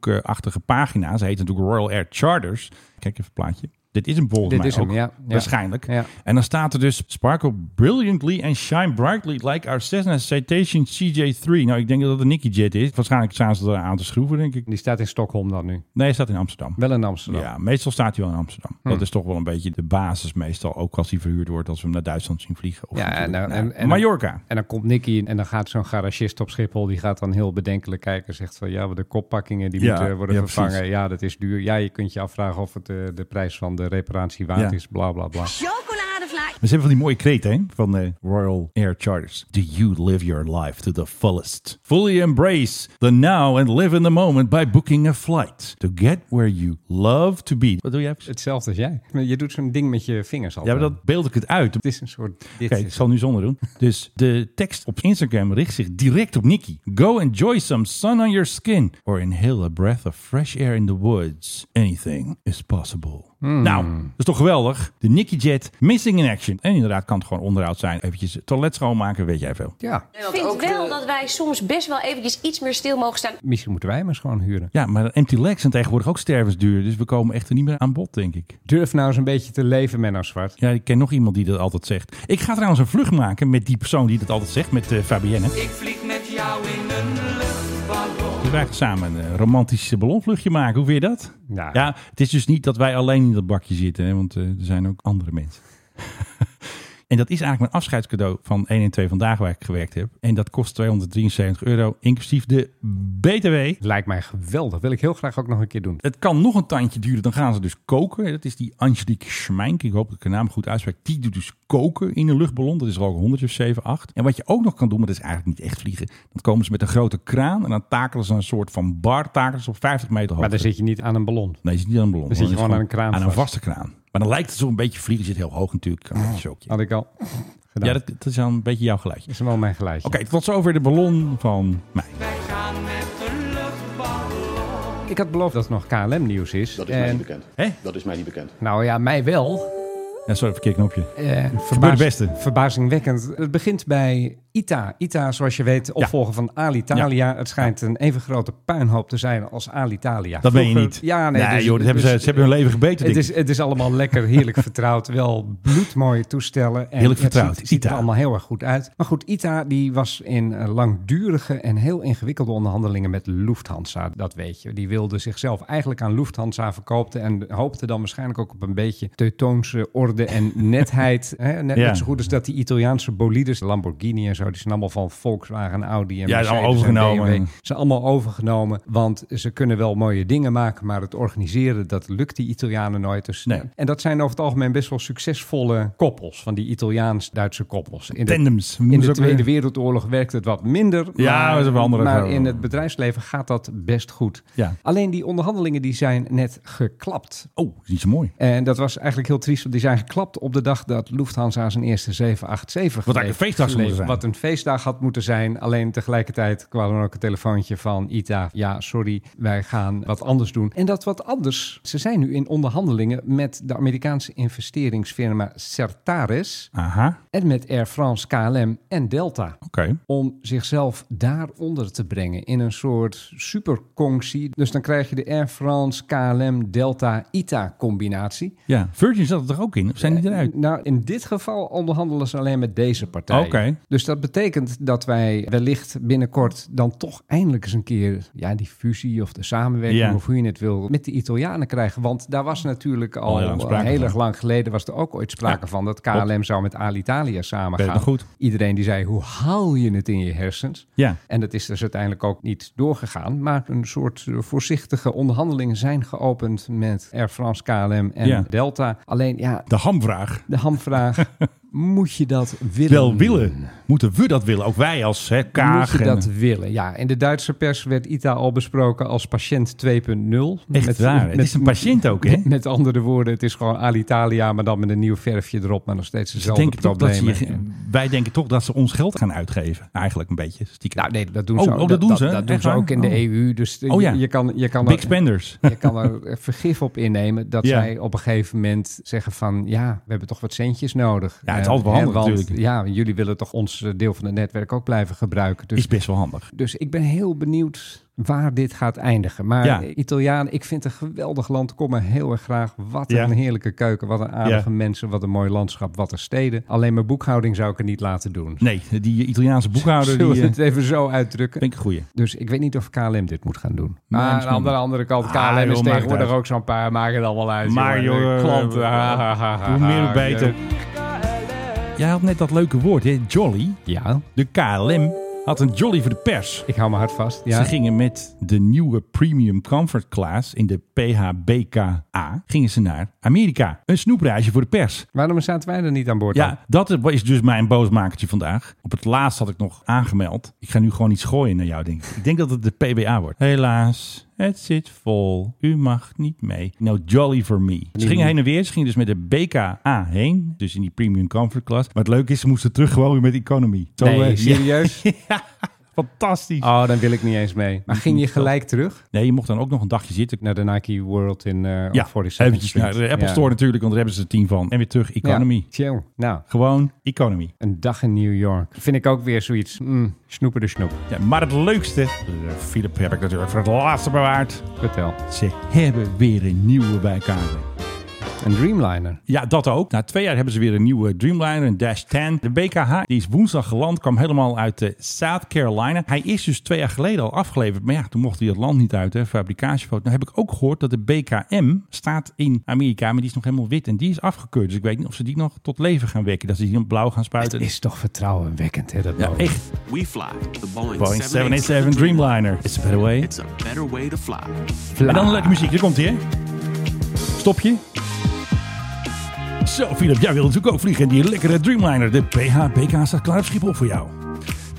S8: Facebook-achtige pagina. Ze heet natuurlijk Royal Air Charters. Kijk even het plaatje. Dit is hem volgens
S9: Dit
S8: mij
S9: is hem,
S8: ook.
S9: ja. Ja.
S8: Waarschijnlijk.
S9: Ja.
S8: En dan staat er dus... Sparkle brilliantly and shine brightly like our Cessna Citation CJ3. Nou, ik denk dat het een Nicky Jet is. Waarschijnlijk staan ze er aan te schroeven, denk ik.
S9: Die staat in Stockholm dan nu.
S8: Nee, hij staat in Amsterdam.
S9: Wel in Amsterdam.
S8: Ja, meestal staat hij wel in Amsterdam.
S9: Hmm.
S8: Dat is toch wel een beetje de basis meestal. Ook als hij verhuurd wordt, als we hem naar Duitsland zien vliegen. Of
S9: Ja, en,
S8: natuurlijk
S9: dan-
S8: naar
S9: en, en-
S8: Mallorca.
S9: En dan komt Nicky en dan gaat zo'n garagist op Schiphol. Die gaat dan heel bedenkelijk kijken. Zegt van ja, de koppakkingen die
S8: Ja,
S9: moeten worden
S8: ja,
S9: vervangen.
S8: precies.
S9: Ja, dat is duur. Ja, je kunt je afvragen of het eh, de prijs van de reparatie waard
S8: Ja.
S9: is. Bla bla bla.
S10: Chocoladevlaai.
S8: Maar ze hebben van die mooie kreet, hè? Van de Royal Air Charters. Do you live your life to the fullest? Fully embrace the now and live in the moment by booking a flight. To get where you love to be. Wat doe jij?
S9: Hetzelfde als jij. Je doet zo'n ding met je vingers al.
S8: Ja, maar dat beeld ik het uit. Het
S9: is een soort...
S8: Oké, ik zal nu zonder doen. Dus de tekst op Instagram richt zich direct op Nicky. Go enjoy some sun on your skin. Or inhale a breath of fresh air in the woods. Anything is possible. Nou, dat is toch geweldig? De Nicky Jet, missing in action. En inderdaad kan het gewoon onderhoud zijn. Eventjes het toilet schoonmaken, weet jij veel.
S9: Ja.
S14: Ik vind wel dat wij soms best wel eventjes iets meer stil mogen staan.
S9: Misschien moeten wij hem eens gewoon huren.
S8: Ja, maar empty legs zijn tegenwoordig ook stervensduur. Dus we komen echt er niet meer aan bod, denk ik.
S9: Durf nou eens een beetje te leven, Menno Zwart.
S8: Ja, ik ken nog iemand die dat altijd zegt. Ik ga trouwens een vlucht maken met die persoon die dat altijd zegt, met eh, Fabienne.
S4: Ik vlieg met jou in een luchtballon.
S8: Dus wij gaan samen een eh, romantisch ballonvluchtje maken. Hoe vind je dat? Ja. het is dus niet dat wij alleen in dat bakje zitten, hè, want eh, er zijn ook andere mensen. en dat is eigenlijk mijn afscheidscadeau van 1 en 2 vandaag waar ik gewerkt heb. En dat kost 273 euro, inclusief de BTW.
S9: Lijkt mij geweldig. Wil ik heel graag ook nog een keer doen.
S8: Het kan nog een tandje duren, dan gaan ze dus koken. Dat is die Angelique Schmink, ik hoop dat ik haar naam goed uitspreek. Die doet dus koken in een luchtballon. Dat is er ook 100 of 7, 8. En wat je ook nog kan doen, maar dat is eigenlijk niet echt vliegen. Dan komen ze met een grote kraan en dan takelen ze een soort van bar, takelen ze op 50 meter hoogte.
S9: Maar dan zit je niet aan een ballon.
S8: Nee, je zit niet aan een ballon.
S9: Dan zit je
S8: is
S9: gewoon aan een
S8: Aan
S9: kraan
S8: een
S9: vast. Ah,
S8: vaste kraan. Maar dan lijkt het zo een beetje vliegen. Je zit heel hoog natuurlijk. Kan dat ook, ja.
S9: Had ik al gedaan.
S8: Ja, dat, dat is al een beetje jouw geluidje.
S9: is wel mijn geluidje.
S8: Oké, tot zover de ballon van mij.
S9: Ik had beloofd dat het nog KLM-nieuws is.
S15: Dat is mij
S9: En-
S15: niet bekend. Dat is mij niet bekend.
S9: Nou ja, mij wel.
S8: Ja, sorry, verkeerd knopje.
S9: Eh,
S8: Gebeurt
S9: verbaas-
S8: het beste.
S9: Verbazingwekkend. Het begint bij ITA. ITA, zoals je weet, opvolger van Alitalia. Het schijnt een even grote puinhoop te zijn als Alitalia.
S8: Dat ben je
S9: Vroeger-
S8: niet.
S9: Ja, nee.
S8: Nee,
S9: dus-
S8: joh, dat hebben ze-
S9: dus-
S8: ze hebben hun leven gebeten,
S9: Het
S8: denk
S9: is, het is allemaal lekker, heerlijk vertrouwd. Wel bloedmooie toestellen. En
S8: Heerlijk
S9: het
S8: vertrouwd,
S9: Ziet, ziet er allemaal heel erg goed uit. Maar goed, ITA die was in eh, langdurige en heel ingewikkelde onderhandelingen met Lufthansa. Dat weet je. Die wilde zichzelf eigenlijk aan Lufthansa verkopen. En hoopte dan waarschijnlijk ook op een beetje Teutoonse orde en netheid. hè? Net,
S8: Ja.
S9: net zo goed als dat die Italiaanse bolides, Lamborghini en zo, die zijn allemaal van Volkswagen, Audi en
S8: Ja, die zijn
S9: Mercedes en
S8: overgenomen.
S9: BMW. Ze zijn allemaal overgenomen, want ze kunnen wel mooie dingen maken, maar het organiseren, dat lukt die Italianen nooit. Dus, En dat zijn over het algemeen best wel succesvolle koppels, van die Italiaans-Duitse koppels. In de-
S8: Tandems.
S9: in
S8: Noemen ze
S9: de
S8: ook
S9: Tweede
S8: weer.
S9: Wereldoorlog werkte het wat minder.
S8: Ja,
S9: maar,
S8: dat is een andere
S9: Maar
S8: verhaal.
S9: in het bedrijfsleven gaat dat best goed.
S8: Ja.
S9: Alleen die onderhandelingen die zijn net geklapt.
S8: Oh, is niet zo mooi.
S9: En dat was eigenlijk heel triest, want die zijn geklapt op de dag dat Lufthansa zijn eerste 787
S8: Wat eigenlijk een feestdag zou moeten zijn.
S9: Wat een feestdag had moeten zijn. Alleen tegelijkertijd kwam er ook een telefoontje van ITA. Ja, sorry, wij gaan wat anders doen. En dat wat anders. Ze zijn nu in onderhandelingen met de Amerikaanse investeringsfirma Certares.
S8: Aha.
S9: En met Air France, KLM en Delta.
S8: Oké.
S9: Om zichzelf daaronder te brengen in een soort superconctie. Dus dan krijg je de Air France, KLM, Delta, ITA combinatie.
S8: Ja, Virgin zat er toch ook in? Of zijn die eruit?
S9: Nou, in dit geval onderhandelen ze alleen met deze partij.
S8: Oké.
S9: Dus dat betekent dat wij wellicht binnenkort dan toch eindelijk eens een keer ja, die fusie of de samenwerking,
S8: Ja.
S9: of hoe je het wil, met de Italianen krijgen. Want daar was natuurlijk al eh,
S8: Al heel lang
S9: heel,
S8: sprake
S9: erg
S8: van.
S9: lang geleden was er ook ooit sprake van dat KLM zou met Alitalia samen
S8: Weet
S9: gaan.
S8: nog goed.
S9: Iedereen die zei, hoe haal je het in je hersens?
S8: Ja.
S9: En dat is dus uiteindelijk ook niet doorgegaan. Maar een soort eh, voorzichtige onderhandelingen zijn geopend met Air France, KLM en
S8: Ja.
S9: Delta. Alleen ja,
S8: De hamvraag.
S9: de hamvraag. moet je dat willen?
S8: Wel willen. Moeten we dat willen? Ook wij als hè, Kaag.
S9: Moet je
S8: en-
S9: dat willen? Ja, in de Duitse pers werd ITA al besproken als patiënt 2.0.
S8: Echt waar, hè? Het is een patiënt ook, hè?
S9: Met, met andere woorden, het is gewoon Alitalia, maar dan met een nieuw verfje erop, maar nog steeds
S8: Ze
S9: dezelfde
S8: denken toch dat
S9: problemen.
S8: ze je- wij denken toch dat ze ons geld gaan uitgeven. Nou, Eigenlijk een beetje. Stiekem.
S9: Nou, nee, dat doen
S8: oh,
S9: ze ook.
S8: Oh, dat, doen ze.
S9: Dat,
S8: Echt
S9: doen ze
S8: waar?
S9: ook in de
S8: Oh.
S9: EU. Dus eh,
S8: Oh, ja.
S9: je, je kan, je kan
S8: Big
S9: er-
S8: spenders.
S9: Je kan er vergif op innemen dat
S8: Ja.
S9: zij op een gegeven moment zeggen van... ja, we hebben toch wat centjes nodig.
S8: Ja, het is
S9: Eh,
S8: altijd wel
S9: hè,
S8: handig
S9: want,
S8: natuurlijk.
S9: Ja, jullie willen toch ons eh, deel van het netwerk ook blijven gebruiken. Dus,
S8: Is best wel handig.
S9: dus ik ben heel benieuwd waar dit gaat eindigen. Maar eh,
S8: Ja.
S9: Italiaan, ik vind het een geweldig land. Kom er heel erg graag. Wat
S8: Ja.
S9: een heerlijke keuken. Wat een aardige mensen. Wat een mooi landschap. Wat een steden. Alleen mijn boekhouding zou ik er niet laten doen.
S8: Nee, die Italiaanse boekhouder.
S9: Zullen
S8: Die, eh,
S9: we het even zo uitdrukken?
S8: vind ik een goeie.
S9: Dus ik weet niet of KLM dit moet gaan doen.
S8: Nee,
S9: Maar
S8: misschien
S9: aan de
S8: niet.
S9: andere kant,
S8: Ah,
S9: KLM
S8: joh,
S9: is
S8: maakt
S9: tegenwoordig
S8: uit.
S9: ook zo'n paar. Maak het allemaal uit.
S8: Maar joh,
S9: De
S8: eh,
S9: klanten.
S8: eh,
S9: ha, ha, ha, ha,
S8: hoe meer hoe
S9: ha,
S8: beter. Jij had net dat leuke woord, hè? Jolly.
S9: Ja.
S8: De KLM had een jolly voor de pers.
S9: Ik hou mijn hart vast. Ja.
S8: Ze gingen met de nieuwe Premium Comfort Class in de PHBKA gingen ze naar Amerika. Een snoepreisje voor de pers.
S9: Waarom zaten wij er niet aan boord? dan?
S8: Ja, dat is dus mijn boosmakertje vandaag. Op het laatst had ik nog aangemeld. Ik ga nu gewoon iets gooien naar jou, denk ik. Ik denk dat het de PBA wordt. Helaas, het zit vol. U mag niet mee. No jolly for me. Ze gingen heen en weer. Ze gingen dus met de BKA heen. Dus in die premium comfort class. Maar het leuke is, ze moesten terug gewoon weer met economy. Zo,
S9: Nee,
S8: eh,
S9: serieus?
S8: Fantastisch.
S9: Oh, dan wil ik niet eens mee. Maar ging je gelijk terug
S8: Nee, je mocht dan ook nog een dagje zitten.
S9: naar de Nike World in eh
S8: Ja,
S9: 47th
S8: eventjes
S9: Street?
S8: naar Oh, de Apple
S9: Ja.
S8: Store natuurlijk, want daar hebben ze er tien van. En weer terug, economy.
S9: Ja, chill. Nou,
S8: Gewoon economy.
S9: een dag in New York. Vind ik ook weer zoiets. Mm, snoepen de snoep.
S8: Ja, maar het leukste, eh, Philip heb ik natuurlijk voor het laatste bewaard.
S9: Vertel.
S8: Ze hebben weer een nieuwe bij KLM.
S9: Een Dreamliner.
S8: Ja, dat ook. Na twee jaar hebben ze weer een nieuwe Dreamliner, een Dash 10. De BKH, die is woensdag geland, kwam helemaal uit eh, South Carolina. Hij is dus twee jaar geleden al afgeleverd. Maar ja, toen mocht hij het land niet uit, hè, fabrikagefoto. Nou heb ik ook gehoord dat de BKM staat in Amerika, maar die is nog helemaal wit. En die is afgekeurd. Dus ik weet niet of ze die nog tot leven gaan wekken. Dat ze die nog blauw gaan
S9: Het
S8: spuiten.
S9: is toch vertrouwenwekkend, hè? Dat
S8: Ja,
S9: boven.
S8: echt.
S15: Oh. We fly the Boeing,
S8: Boeing 787 Dreamliner. It's a better way.
S15: It's a better way to fly.
S8: En dan lekker muziek. Hier komt hij, hè? Stopje. Zo, Philip, jij wil natuurlijk ook vliegen. in Die lekkere Dreamliner. De PHBK staat klaar op Schiphol voor jou.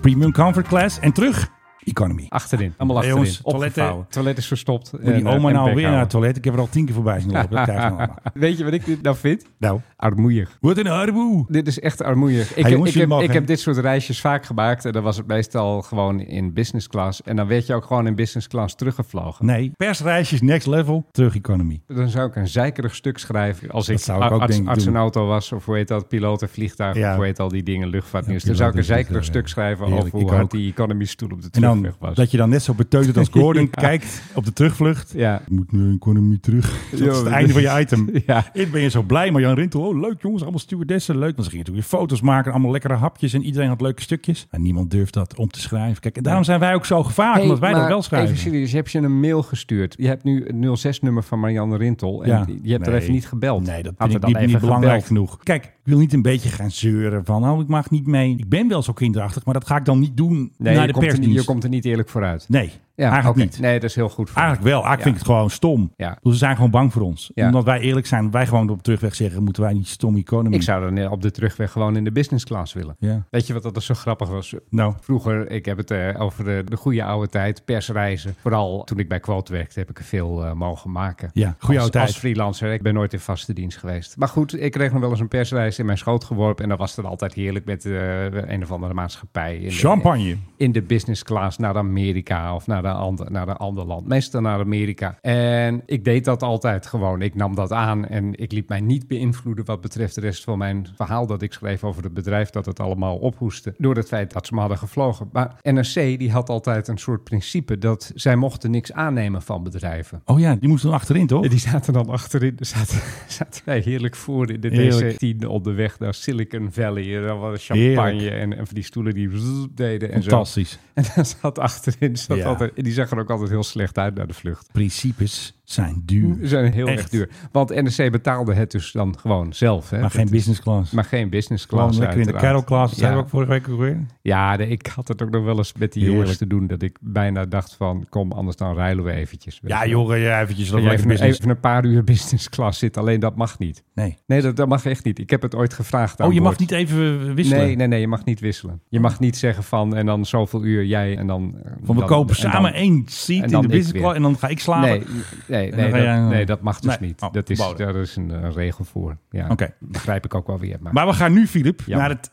S8: Premium Comfort Class. En terug Economy.
S9: Achterin. Allemaal
S8: Hey,
S9: achterin.
S8: jongens,
S9: Opgevouwen.
S8: toiletten-
S9: Toilet is verstopt.
S8: Moet die
S9: En, eh,
S8: oma
S9: en
S8: nou weer naar
S9: bek
S8: het
S9: houden.
S8: toilet? Ik heb er al tien keer voorbij zien lopen. Dat krijg je nou allemaal.
S9: Weet je wat ik dit nou vind?
S8: Nou.
S9: Armoeig.
S8: Wat een armoe.
S9: Dit is echt armoeig. Ik,
S8: Hey,
S9: heb,
S8: jongens,
S9: ik,
S8: jullie
S9: heb,
S8: mogen,
S9: ik
S8: hè?
S9: heb dit soort reisjes vaak gemaakt. En dan was het meestal gewoon in business class. En dan werd je ook gewoon in business class teruggevlogen.
S8: Nee, persreisjes next level, terug economy.
S9: Dan zou ik een zeikerig stuk schrijven als
S8: Dat
S9: ik,
S8: zou ik ook,
S9: arts,
S8: denk ik,
S9: arts en
S8: doen.
S9: auto was. Of hoe heet dat? Piloot en vliegtuig.
S8: Ja.
S9: Of hoe heet al die dingen? Luchtvaartnieuws.
S8: Ja,
S9: dan zou ik een
S8: piloot en
S9: zeikerig stuk
S8: vliegtuig, ja.
S9: schrijven
S8: Heerlijk,
S9: over
S8: ik
S9: hoe hard
S8: ook.
S9: die economy stoel op de
S8: En
S9: terugweg
S8: dan
S9: was.
S8: dat je dan net zo beteuterd als Gordon
S9: Ja.
S8: kijkt op de terugvlucht.
S9: Ja.
S8: Je moet nu een economie terug. Dat
S9: Ja,
S8: is het
S9: dat
S8: einde
S9: is-
S8: van je item.
S9: Ja.
S8: Ik ben je zo blij, maar Jan Rintel, oh leuk jongens, allemaal stewardessen, leuk. Dan ging je natuurlijk weer foto's maken, allemaal lekkere hapjes en iedereen had leuke stukjes. En niemand durft dat om te schrijven. Kijk, en daarom zijn wij ook zo gevaarlijk,
S9: Hey,
S8: omdat wij dat
S9: maar
S8: wel schrijven.
S9: Even serieus, heb je een mail gestuurd? Je hebt nu het 06-nummer van Marianne Rintel. En
S8: Ja.
S9: je hebt
S8: Nee.
S9: er even niet gebeld.
S8: Nee, dat vind
S9: Had er
S8: ik
S9: dan
S8: niet, niet
S9: even
S8: belangrijk
S9: gebeld.
S8: genoeg. Kijk, ik wil niet een beetje gaan zeuren van, oh ik mag niet mee. Ik ben wel zo kinderachtig, maar dat ga ik dan niet doen naar
S9: Nee, je,
S8: de
S9: komt er, niet-
S8: persdienst.
S9: je komt er niet eerlijk vooruit.
S8: Nee,
S9: Ja,
S8: eigenlijk
S9: oké.
S8: niet.
S9: Nee, dat is heel goed. voor
S8: Eigenlijk wel. Eigenlijk
S9: Ja.
S8: vind ik het gewoon stom.
S9: Ja.
S8: Dus ze zijn gewoon bang voor ons.
S9: Ja.
S8: Omdat wij eerlijk zijn, wij gewoon op terugweg zeggen, moeten wij niet stom economy.
S9: Ik zou dan eh, op de terugweg gewoon in de business class willen.
S8: Ja.
S9: Weet je wat dat zo grappig was?
S8: Nou.
S9: Vroeger, ik heb het eh, over de, de goede oude tijd, persreizen. Vooral toen ik bij Quote werkte, heb ik er veel eh, mogen maken.
S8: Ja, goede
S9: Als-
S8: oude tijd.
S9: Als freelancer. Ik ben nooit in vaste dienst geweest. Maar goed, ik kreeg nog wel eens een persreis in mijn schoot geworpen. En dat was het altijd heerlijk met eh, een of andere maatschappij. In de-
S8: Champagne.
S9: in de business class naar Amerika of naar een ander, naar een ander land. Meestal naar Amerika. En ik deed dat altijd gewoon. Ik nam dat aan en ik liet mij niet beïnvloeden wat betreft de rest van mijn verhaal dat ik schreef over het bedrijf dat het allemaal ophoestte. Door het feit dat ze me hadden gevlogen. Maar NRC die had altijd een soort principe dat zij mochten niks aannemen van bedrijven.
S8: Oh ja, die moesten dan achterin, toch?
S9: Die zaten dan achterin. Er Zaten, zaten wij heerlijk voor in de
S8: Heerlijk.
S9: DC-10 onderweg naar Silicon Valley. En dan was champagne
S8: Heerlijk.
S9: en, en van die stoelen die zzz deden. En zo.
S8: Fantastisch.
S9: En dan zat achterin, zat
S8: Ja.
S9: altijd, en die zag er ook altijd heel slecht uit naar de vlucht.
S8: Principes zijn duur.
S9: Ze zijn heel
S8: Echt.
S9: erg duur. Want NRC betaalde het dus dan gewoon zelf. Hè?
S8: Maar geen
S9: Dat-
S8: business class.
S9: Maar geen business
S8: Gewoon
S9: class.
S8: lekker in de
S9: uiteraard.
S8: carol class. Dat
S9: Ja.
S8: zeiden we ook vorige week ook weer.
S9: Ja, nee, ik had het ook nog wel eens met die jongens
S8: Heerlijk.
S9: te doen. Dat ik bijna dacht van, kom, anders dan rijden we eventjes. Weet
S8: Ja,
S9: je wel.
S8: joh, ja, eventjes
S9: Dat
S8: dat
S9: je
S8: lekker
S9: even,
S8: business.
S9: even een paar uur business class zit. Alleen dat mag niet.
S8: Nee.
S9: Nee, dat, dat mag echt niet. Ik heb het ooit gevraagd aan
S8: Oh, je mag
S9: boord.
S8: niet even eh, wisselen?
S9: Nee, nee, nee, je mag niet wisselen. Je mag niet zeggen van en dan zoveel uur jij en dan. eh,
S8: Van we
S9: dan-
S8: kopen
S9: en dan-
S8: samen één seat
S9: en
S8: in de
S9: dan ik
S8: business
S9: weer.
S8: class en dan ga ik slapen.
S9: Nee, nee,
S8: En dan
S9: nee,
S8: ga
S9: dat,
S8: jij-
S9: nee, dat mag dus
S8: Nee.
S9: niet.
S8: Oh,
S9: dat is,
S8: verboden.
S9: daar is een eh, regel voor. Ja,
S8: Oké.
S9: Begrijp ik ook wel weer. Maar.
S8: Maar we gaan nu, Filip,
S9: Jammer.
S8: naar het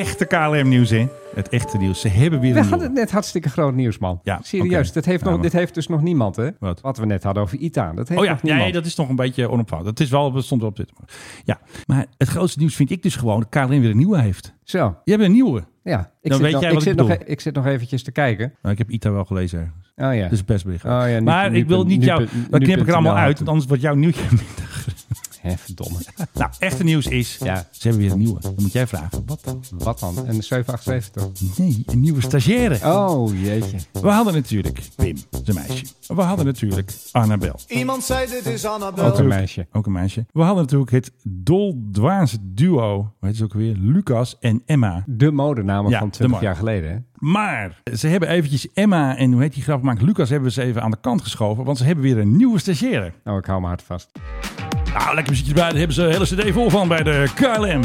S8: echte KLM-nieuws in. Het echte nieuws. Ze hebben weer
S9: we
S8: een
S9: hadden
S8: nieuwe.
S9: het net hartstikke groot nieuws, man.
S8: Ja,
S9: Serieus,
S8: oké.
S9: dat heeft
S8: Ja,
S9: nog,
S8: maar-
S9: dit heeft dus nog niemand, hè?
S8: Wat?
S9: we net hadden over ITA. Dat heeft
S8: Oh ja,
S9: nog niemand.
S8: nee, dat is nog een beetje onopvallend. Dat is wel, dat stond wel op dit. Ja, maar het grootste nieuws vind ik dus gewoon dat KLM weer een nieuwe heeft.
S9: Zo.
S8: Je hebt een nieuwe.
S9: Ja, ik,
S8: Dan
S9: zit,
S8: weet
S9: nog,
S8: jij
S9: ik,
S8: wat ik
S9: zit nog,
S8: bedoel.
S9: e- ik zit nog eventjes te kijken.
S8: Nou, ik heb ITA wel gelezen ergens.
S9: Oh ja.
S8: Dat is best bericht.
S9: Oh ja, nu-
S8: maar
S9: nu-
S8: ik wil niet
S9: nu-
S8: jou...
S9: nu-
S8: Dan
S9: nu-
S8: knip ik er allemaal
S9: nu-
S8: uit, want anders wordt jouw nieuwtje minder.
S9: Hè, verdomme.
S8: Nou, echte nieuws is,
S9: Ja.
S8: ze hebben weer een nieuwe. Dan moet jij vragen. Wat dan?
S9: Wat dan? Een 778?
S8: Nee, een nieuwe stagiaire.
S9: Oh, jeetje.
S8: We hadden natuurlijk Pim, zijn meisje. We hadden natuurlijk Annabel.
S16: Iemand zei dit is Annabel.
S8: Natuurlijk-
S9: meisje.
S8: Ook een meisje. We hadden natuurlijk het doldwaas duo, hoe heet ze ook weer? Lucas en Emma.
S9: De modenamen
S8: Ja,
S9: van
S8: de
S9: 20
S8: mode.
S9: jaar geleden, hè?
S8: Maar ze hebben eventjes Emma en hoe heet die grap maakt Lucas hebben we ze even aan de kant geschoven, want ze hebben weer een nieuwe stagiaire.
S9: Nou, ik hou me hard vast.
S8: Nou, lekker muziekjes bij. Daar hebben ze een hele cd vol van bij de KLM.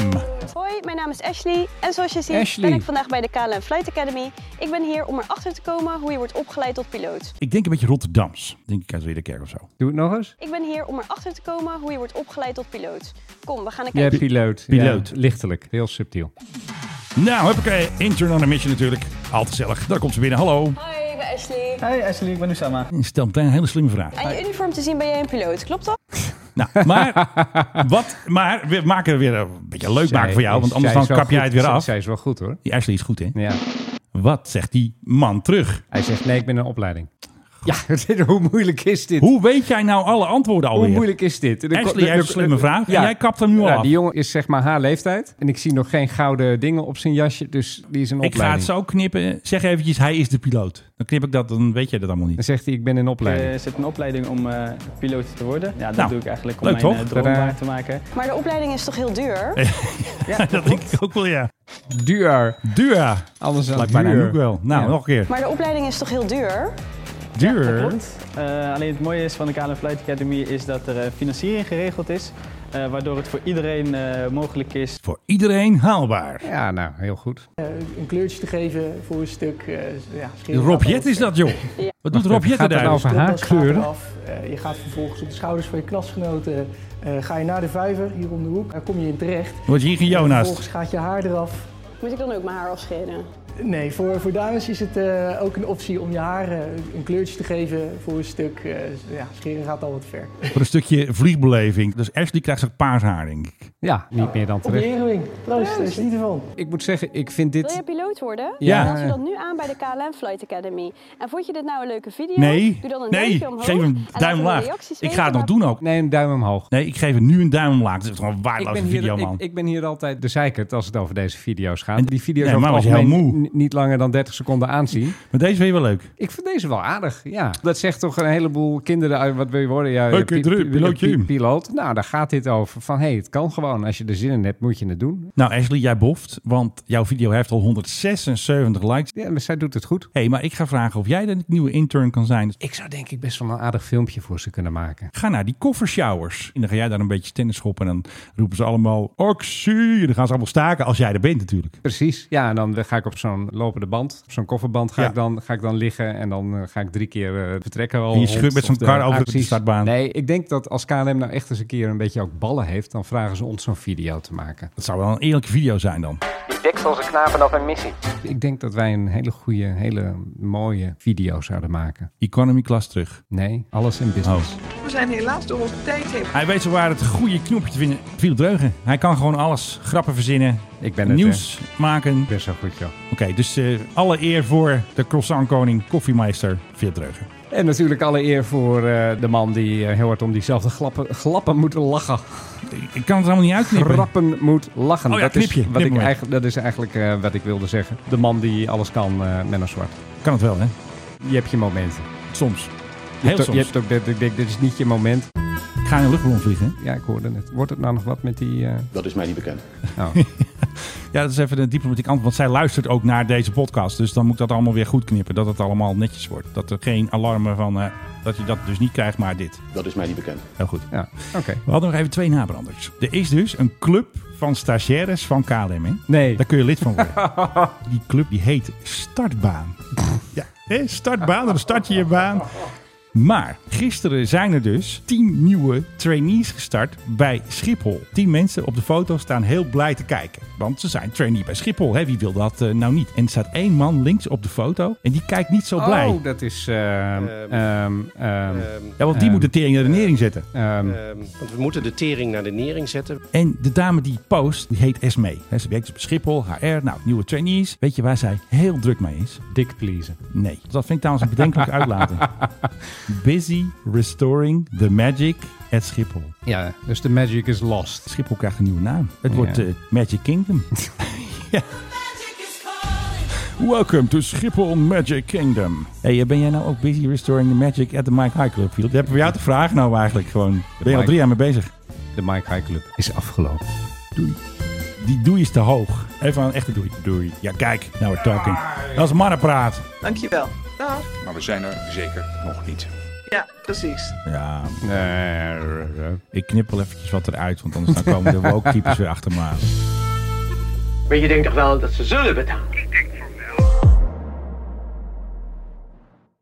S7: Hoi, mijn naam is Ashley en zoals je ziet
S8: Ashley.
S7: ben ik vandaag bij de KLM Flight Academy. Ik ben hier om erachter te komen hoe je wordt opgeleid tot piloot.
S8: Ik denk een beetje Rotterdams. Denk ik uit Ridderkerk of zo.
S9: Doe het nog eens.
S7: Ik ben hier om erachter te komen hoe je wordt opgeleid tot piloot. Kom, we gaan een
S9: Jij
S7: kijkje.
S9: piloot.
S8: Piloot.
S9: Ja, lichtelijk. Heel subtiel.
S8: Nou, heb ik eh, intern on a mission natuurlijk. Altijd gezellig. Daar komt ze binnen. Hallo.
S7: Hoi, ik ben Ashley.
S5: Hey Ashley, ik ben Usama.
S8: Stel meteen een hele slimme vraag.
S7: Aan je uniform te zien ben jij een piloot, klopt dat?
S8: Nou, maar, wat, maar we maken er weer een beetje leuk maken voor jou.
S9: Zij-
S8: Want anders
S9: zij
S8: dan
S9: is wel
S8: kap jij
S9: goed.
S8: het weer
S9: Zij-
S8: af.
S9: Zij is wel goed, hoor.
S8: Die Ashley is goed, hè?
S9: Ja.
S8: Wat zegt die man terug?
S9: Hij zegt, nee, ik ben in een opleiding. Ja, hoe moeilijk is dit?
S8: Hoe weet jij nou alle antwoorden alweer?
S9: Hoe moeilijk is dit?
S8: Ashley heeft een slimme vraag en jij kapt hem nu al
S9: Ja,
S8: af.
S9: Die jongen is zeg maar haar leeftijd. En ik zie nog geen gouden dingen op zijn jasje. Dus die is een
S8: Ik ga
S9: opleiding.
S8: het zo knippen. Zeg eventjes, hij is de piloot. Dan knip ik dat, dan weet jij dat allemaal
S9: Dan
S8: niet.
S9: zegt hij, ik ben in opleiding.
S17: Er zit een opleiding om eh, piloot te worden. Ja, dat
S8: Nou,
S17: doe ik eigenlijk om
S8: leuk
S17: mijn eh,
S8: toch?
S17: droom
S9: Tadaa.
S17: waar te maken.
S7: Maar de opleiding is toch heel duur?
S8: Ja, dat denk ik ook wel, ja.
S9: Duur.
S8: Duur.
S9: Anders dan
S8: Eh, Lijkt mij nou
S9: duur.
S8: ook wel. Nou,
S9: Ja.
S8: nog een keer.
S7: Maar de opleiding is toch heel duur?
S8: Duur.
S17: Klopt. Eh, alleen het mooie is van de KLM Flight Academy is dat er eh, financiering geregeld is. eh, waardoor het voor iedereen eh, mogelijk is.
S8: Voor iedereen haalbaar.
S9: Ja, nou, heel goed.
S18: een kleurtje te geven voor een stuk. eh, ja, scheren.
S8: Rob Jet is dat, joh. Wat doet Rob Jet
S9: Gaat het
S8: daar?
S9: nou over haar
S18: Stropdas gaat
S9: kleuren?
S18: eraf. Eh, je gaat vervolgens op de schouders van je klasgenoten. eh, ga je naar de vijver, hier om de hoek. Daar kom je in terecht.
S8: Wordt hier geen
S18: En
S8: Jonas.
S18: Vervolgens gaat je haar eraf.
S7: Moet ik dan ook mijn haar afscheren?
S18: Nee, voor, voor dames is het eh, ook een optie om je haar eh, een kleurtje te geven voor een stuk. eh, ja, scheren gaat al wat ver.
S8: Voor een stukje vliegbeleving. Dus Ashley krijgt zich paars haar, denk ik.
S9: Ja, niet meer dan
S18: Op je Erwin, proost, daar is niet ervan.
S9: Ik moet zeggen, ik vind
S7: Wil
S9: dit...
S7: je piloot worden?
S9: Ja.
S7: Dan je dat nu aan bij de KLM Flight Academy. En vond je dit nou een leuke video?
S8: Nee,
S7: Doe dan een
S8: nee.
S7: duimpje omhoog
S8: geef
S7: en
S8: hem
S7: laat
S8: duim
S7: in de
S8: omlaag.
S7: reacties
S8: Ik
S7: weten
S8: ga het nog
S7: waar-
S8: doen ook.
S9: Nee, een duim omhoog.
S8: Nee, ik geef hem nu een duim omlaag. Het is gewoon een
S9: Ik
S8: waardeloze
S9: ben, hier,
S8: video,
S9: ik,
S8: man.
S9: ik ben hier altijd bezeikt als het over deze video's gaat. Die video's
S8: Nee,
S9: over
S8: maar
S9: het
S8: was heel
S9: algemeen n- niet langer dan 30 seconden aanzien.
S8: Maar deze vind je wel leuk.
S9: Ik vind deze wel aardig, ja. Dat zegt toch een heleboel kinderen uit, wat wil je worden? Ja,
S8: Leuk,
S9: pi-
S8: dru-
S9: pi-
S8: pilootje.
S9: pi- Piloot. Nou, daar gaat dit over. Van, hé, hey, het kan gewoon. Als je er zin in hebt, moet je het doen.
S8: Nou, Ashley, jij boft, want jouw video heeft al 176 likes.
S9: Ja, maar zij doet het goed.
S8: hey, maar ik ga vragen of jij de nieuwe intern kan zijn.
S9: Ik zou denk ik best wel een aardig filmpje voor ze kunnen maken.
S8: Ga naar die koffershowers. En dan ga jij daar een beetje tennis schoppen. En dan roepen ze allemaal, actie. En dan gaan ze allemaal staken als jij er bent natuurlijk.
S9: Precies. Ja, en dan ga ik op zo'n lopende band, op zo'n kofferband ga,
S8: Ja.
S9: ik dan, ga ik dan liggen en dan eh, ga ik drie keer eh, vertrekken. Al
S8: En je
S9: hond
S8: schudt met
S9: of
S8: zo'n kar
S9: de
S8: over de
S9: acties.
S8: startbaan.
S9: Nee, ik denk dat als KLM nou echt eens een keer een beetje ook ballen heeft, dan vragen ze ons zo'n video te maken.
S8: Dat zou wel een eerlijke video zijn dan.
S4: Dekselse knapen af een missie.
S9: Ik denk dat wij een hele goede, hele mooie video zouden maken.
S8: Economy class terug.
S9: Nee, alles in
S8: Oh,
S9: business.
S5: We zijn helaas door onze tijd heen.
S8: Hij weet zo waar het goede knopje te vinden. Viel Dreugen. Hij kan gewoon alles. Grappen verzinnen.
S9: Ik ben het,
S8: Nieuws maken.
S9: Best wel goed, joh.
S8: Oké, dus eh, alle eer voor de croissantkoning, koffiemeister, Veer Dreugen.
S9: En natuurlijk alle eer voor eh, de man die eh, heel hard om diezelfde glappen, glappen moet lachen.
S8: Ik kan het allemaal niet uitknippen.
S9: Grappen moet lachen.
S8: Oh ja,
S9: dat, is
S8: knipje.
S9: wat
S8: Knip
S9: ik
S8: maar.
S9: eigenlijk, dat is eigenlijk eh, wat ik wilde zeggen. De man die alles kan, eh Menno Zwart.
S8: Kan het wel, hè?
S9: Je hebt je momenten.
S8: Soms.
S9: Je
S8: Heel
S9: hebt, ook-
S8: soms.
S9: je hebt ook dat ik denk, dit is niet je moment.
S8: Ik ga in een luchtballon vliegen. hè?
S9: Ja, ik hoorde het. Wordt het nou nog wat met die... eh,
S19: Dat is mij niet bekend.
S9: nou.
S8: Ja, dat is even een diplomatiek antwoord. Want zij luistert ook naar deze podcast. Dus dan moet ik dat allemaal weer goed knippen. Dat het allemaal netjes wordt. Dat er geen alarmen van... eh, dat je dat dus niet krijgt, maar dit.
S19: Dat is mij niet bekend.
S8: Heel goed.
S9: Ja, oké.
S8: We hadden nog even twee nabranders. Er is dus een club van stagiaires van KLM. Hè?
S9: Nee.
S8: Daar kun je lid van worden. die club die heet Startbaan. ja, hè? Startbaan, dan start je je baan. Maar gisteren zijn er dus tien nieuwe trainees gestart bij Schiphol. Tien mensen op de foto staan heel blij te kijken. Want ze zijn trainee bij Schiphol. Hè? Wie wil dat eh, nou niet? En er staat één man links op de foto. En die kijkt niet zo blij.
S9: Oh, dat is... ehm, ehm, ehm,
S8: ja, want die
S9: ehm,
S8: moet de tering naar de nering zetten.
S9: ehm,
S20: Want we moeten de tering naar de nering zetten.
S8: En de dame die post, die heet Esme. Hè, Ze werkt dus bij Schiphol, HR, nou, nieuwe trainees. Weet je waar zij heel druk mee is?
S9: Dick pleasen.
S8: Nee, dat vind ik trouwens een bedenkelijk uitlaten. Busy restoring the magic at Schiphol.
S9: Ja, dus de magic is lost.
S8: Schiphol krijgt een nieuwe naam. Het
S9: Ja.
S8: wordt eh, Magic Kingdom. ja. Welcome to Schiphol Magic Kingdom. Hey, eh, ben jij nou ook busy restoring the magic at the Mike High Club? Philip? Dat heb ik voor jou te vragen nou eigenlijk gewoon. Ben je al
S9: Mike-
S8: drie jaar mee bezig?
S9: De Mike High Club is afgelopen.
S8: Doei. Die doei is te hoog. Even een echte doei. Doei. Ja, kijk. Now we're talking. Dat is mannenpraat.
S5: Dankjewel. Dag.
S3: Maar we zijn er zeker nog niet.
S5: Ja, precies.
S8: Ja. Ik knip wel eventjes wat eruit, want anders dan komen de woke types weer achter me aan.
S1: Maar je denkt toch wel dat ze zullen betalen? Ik denk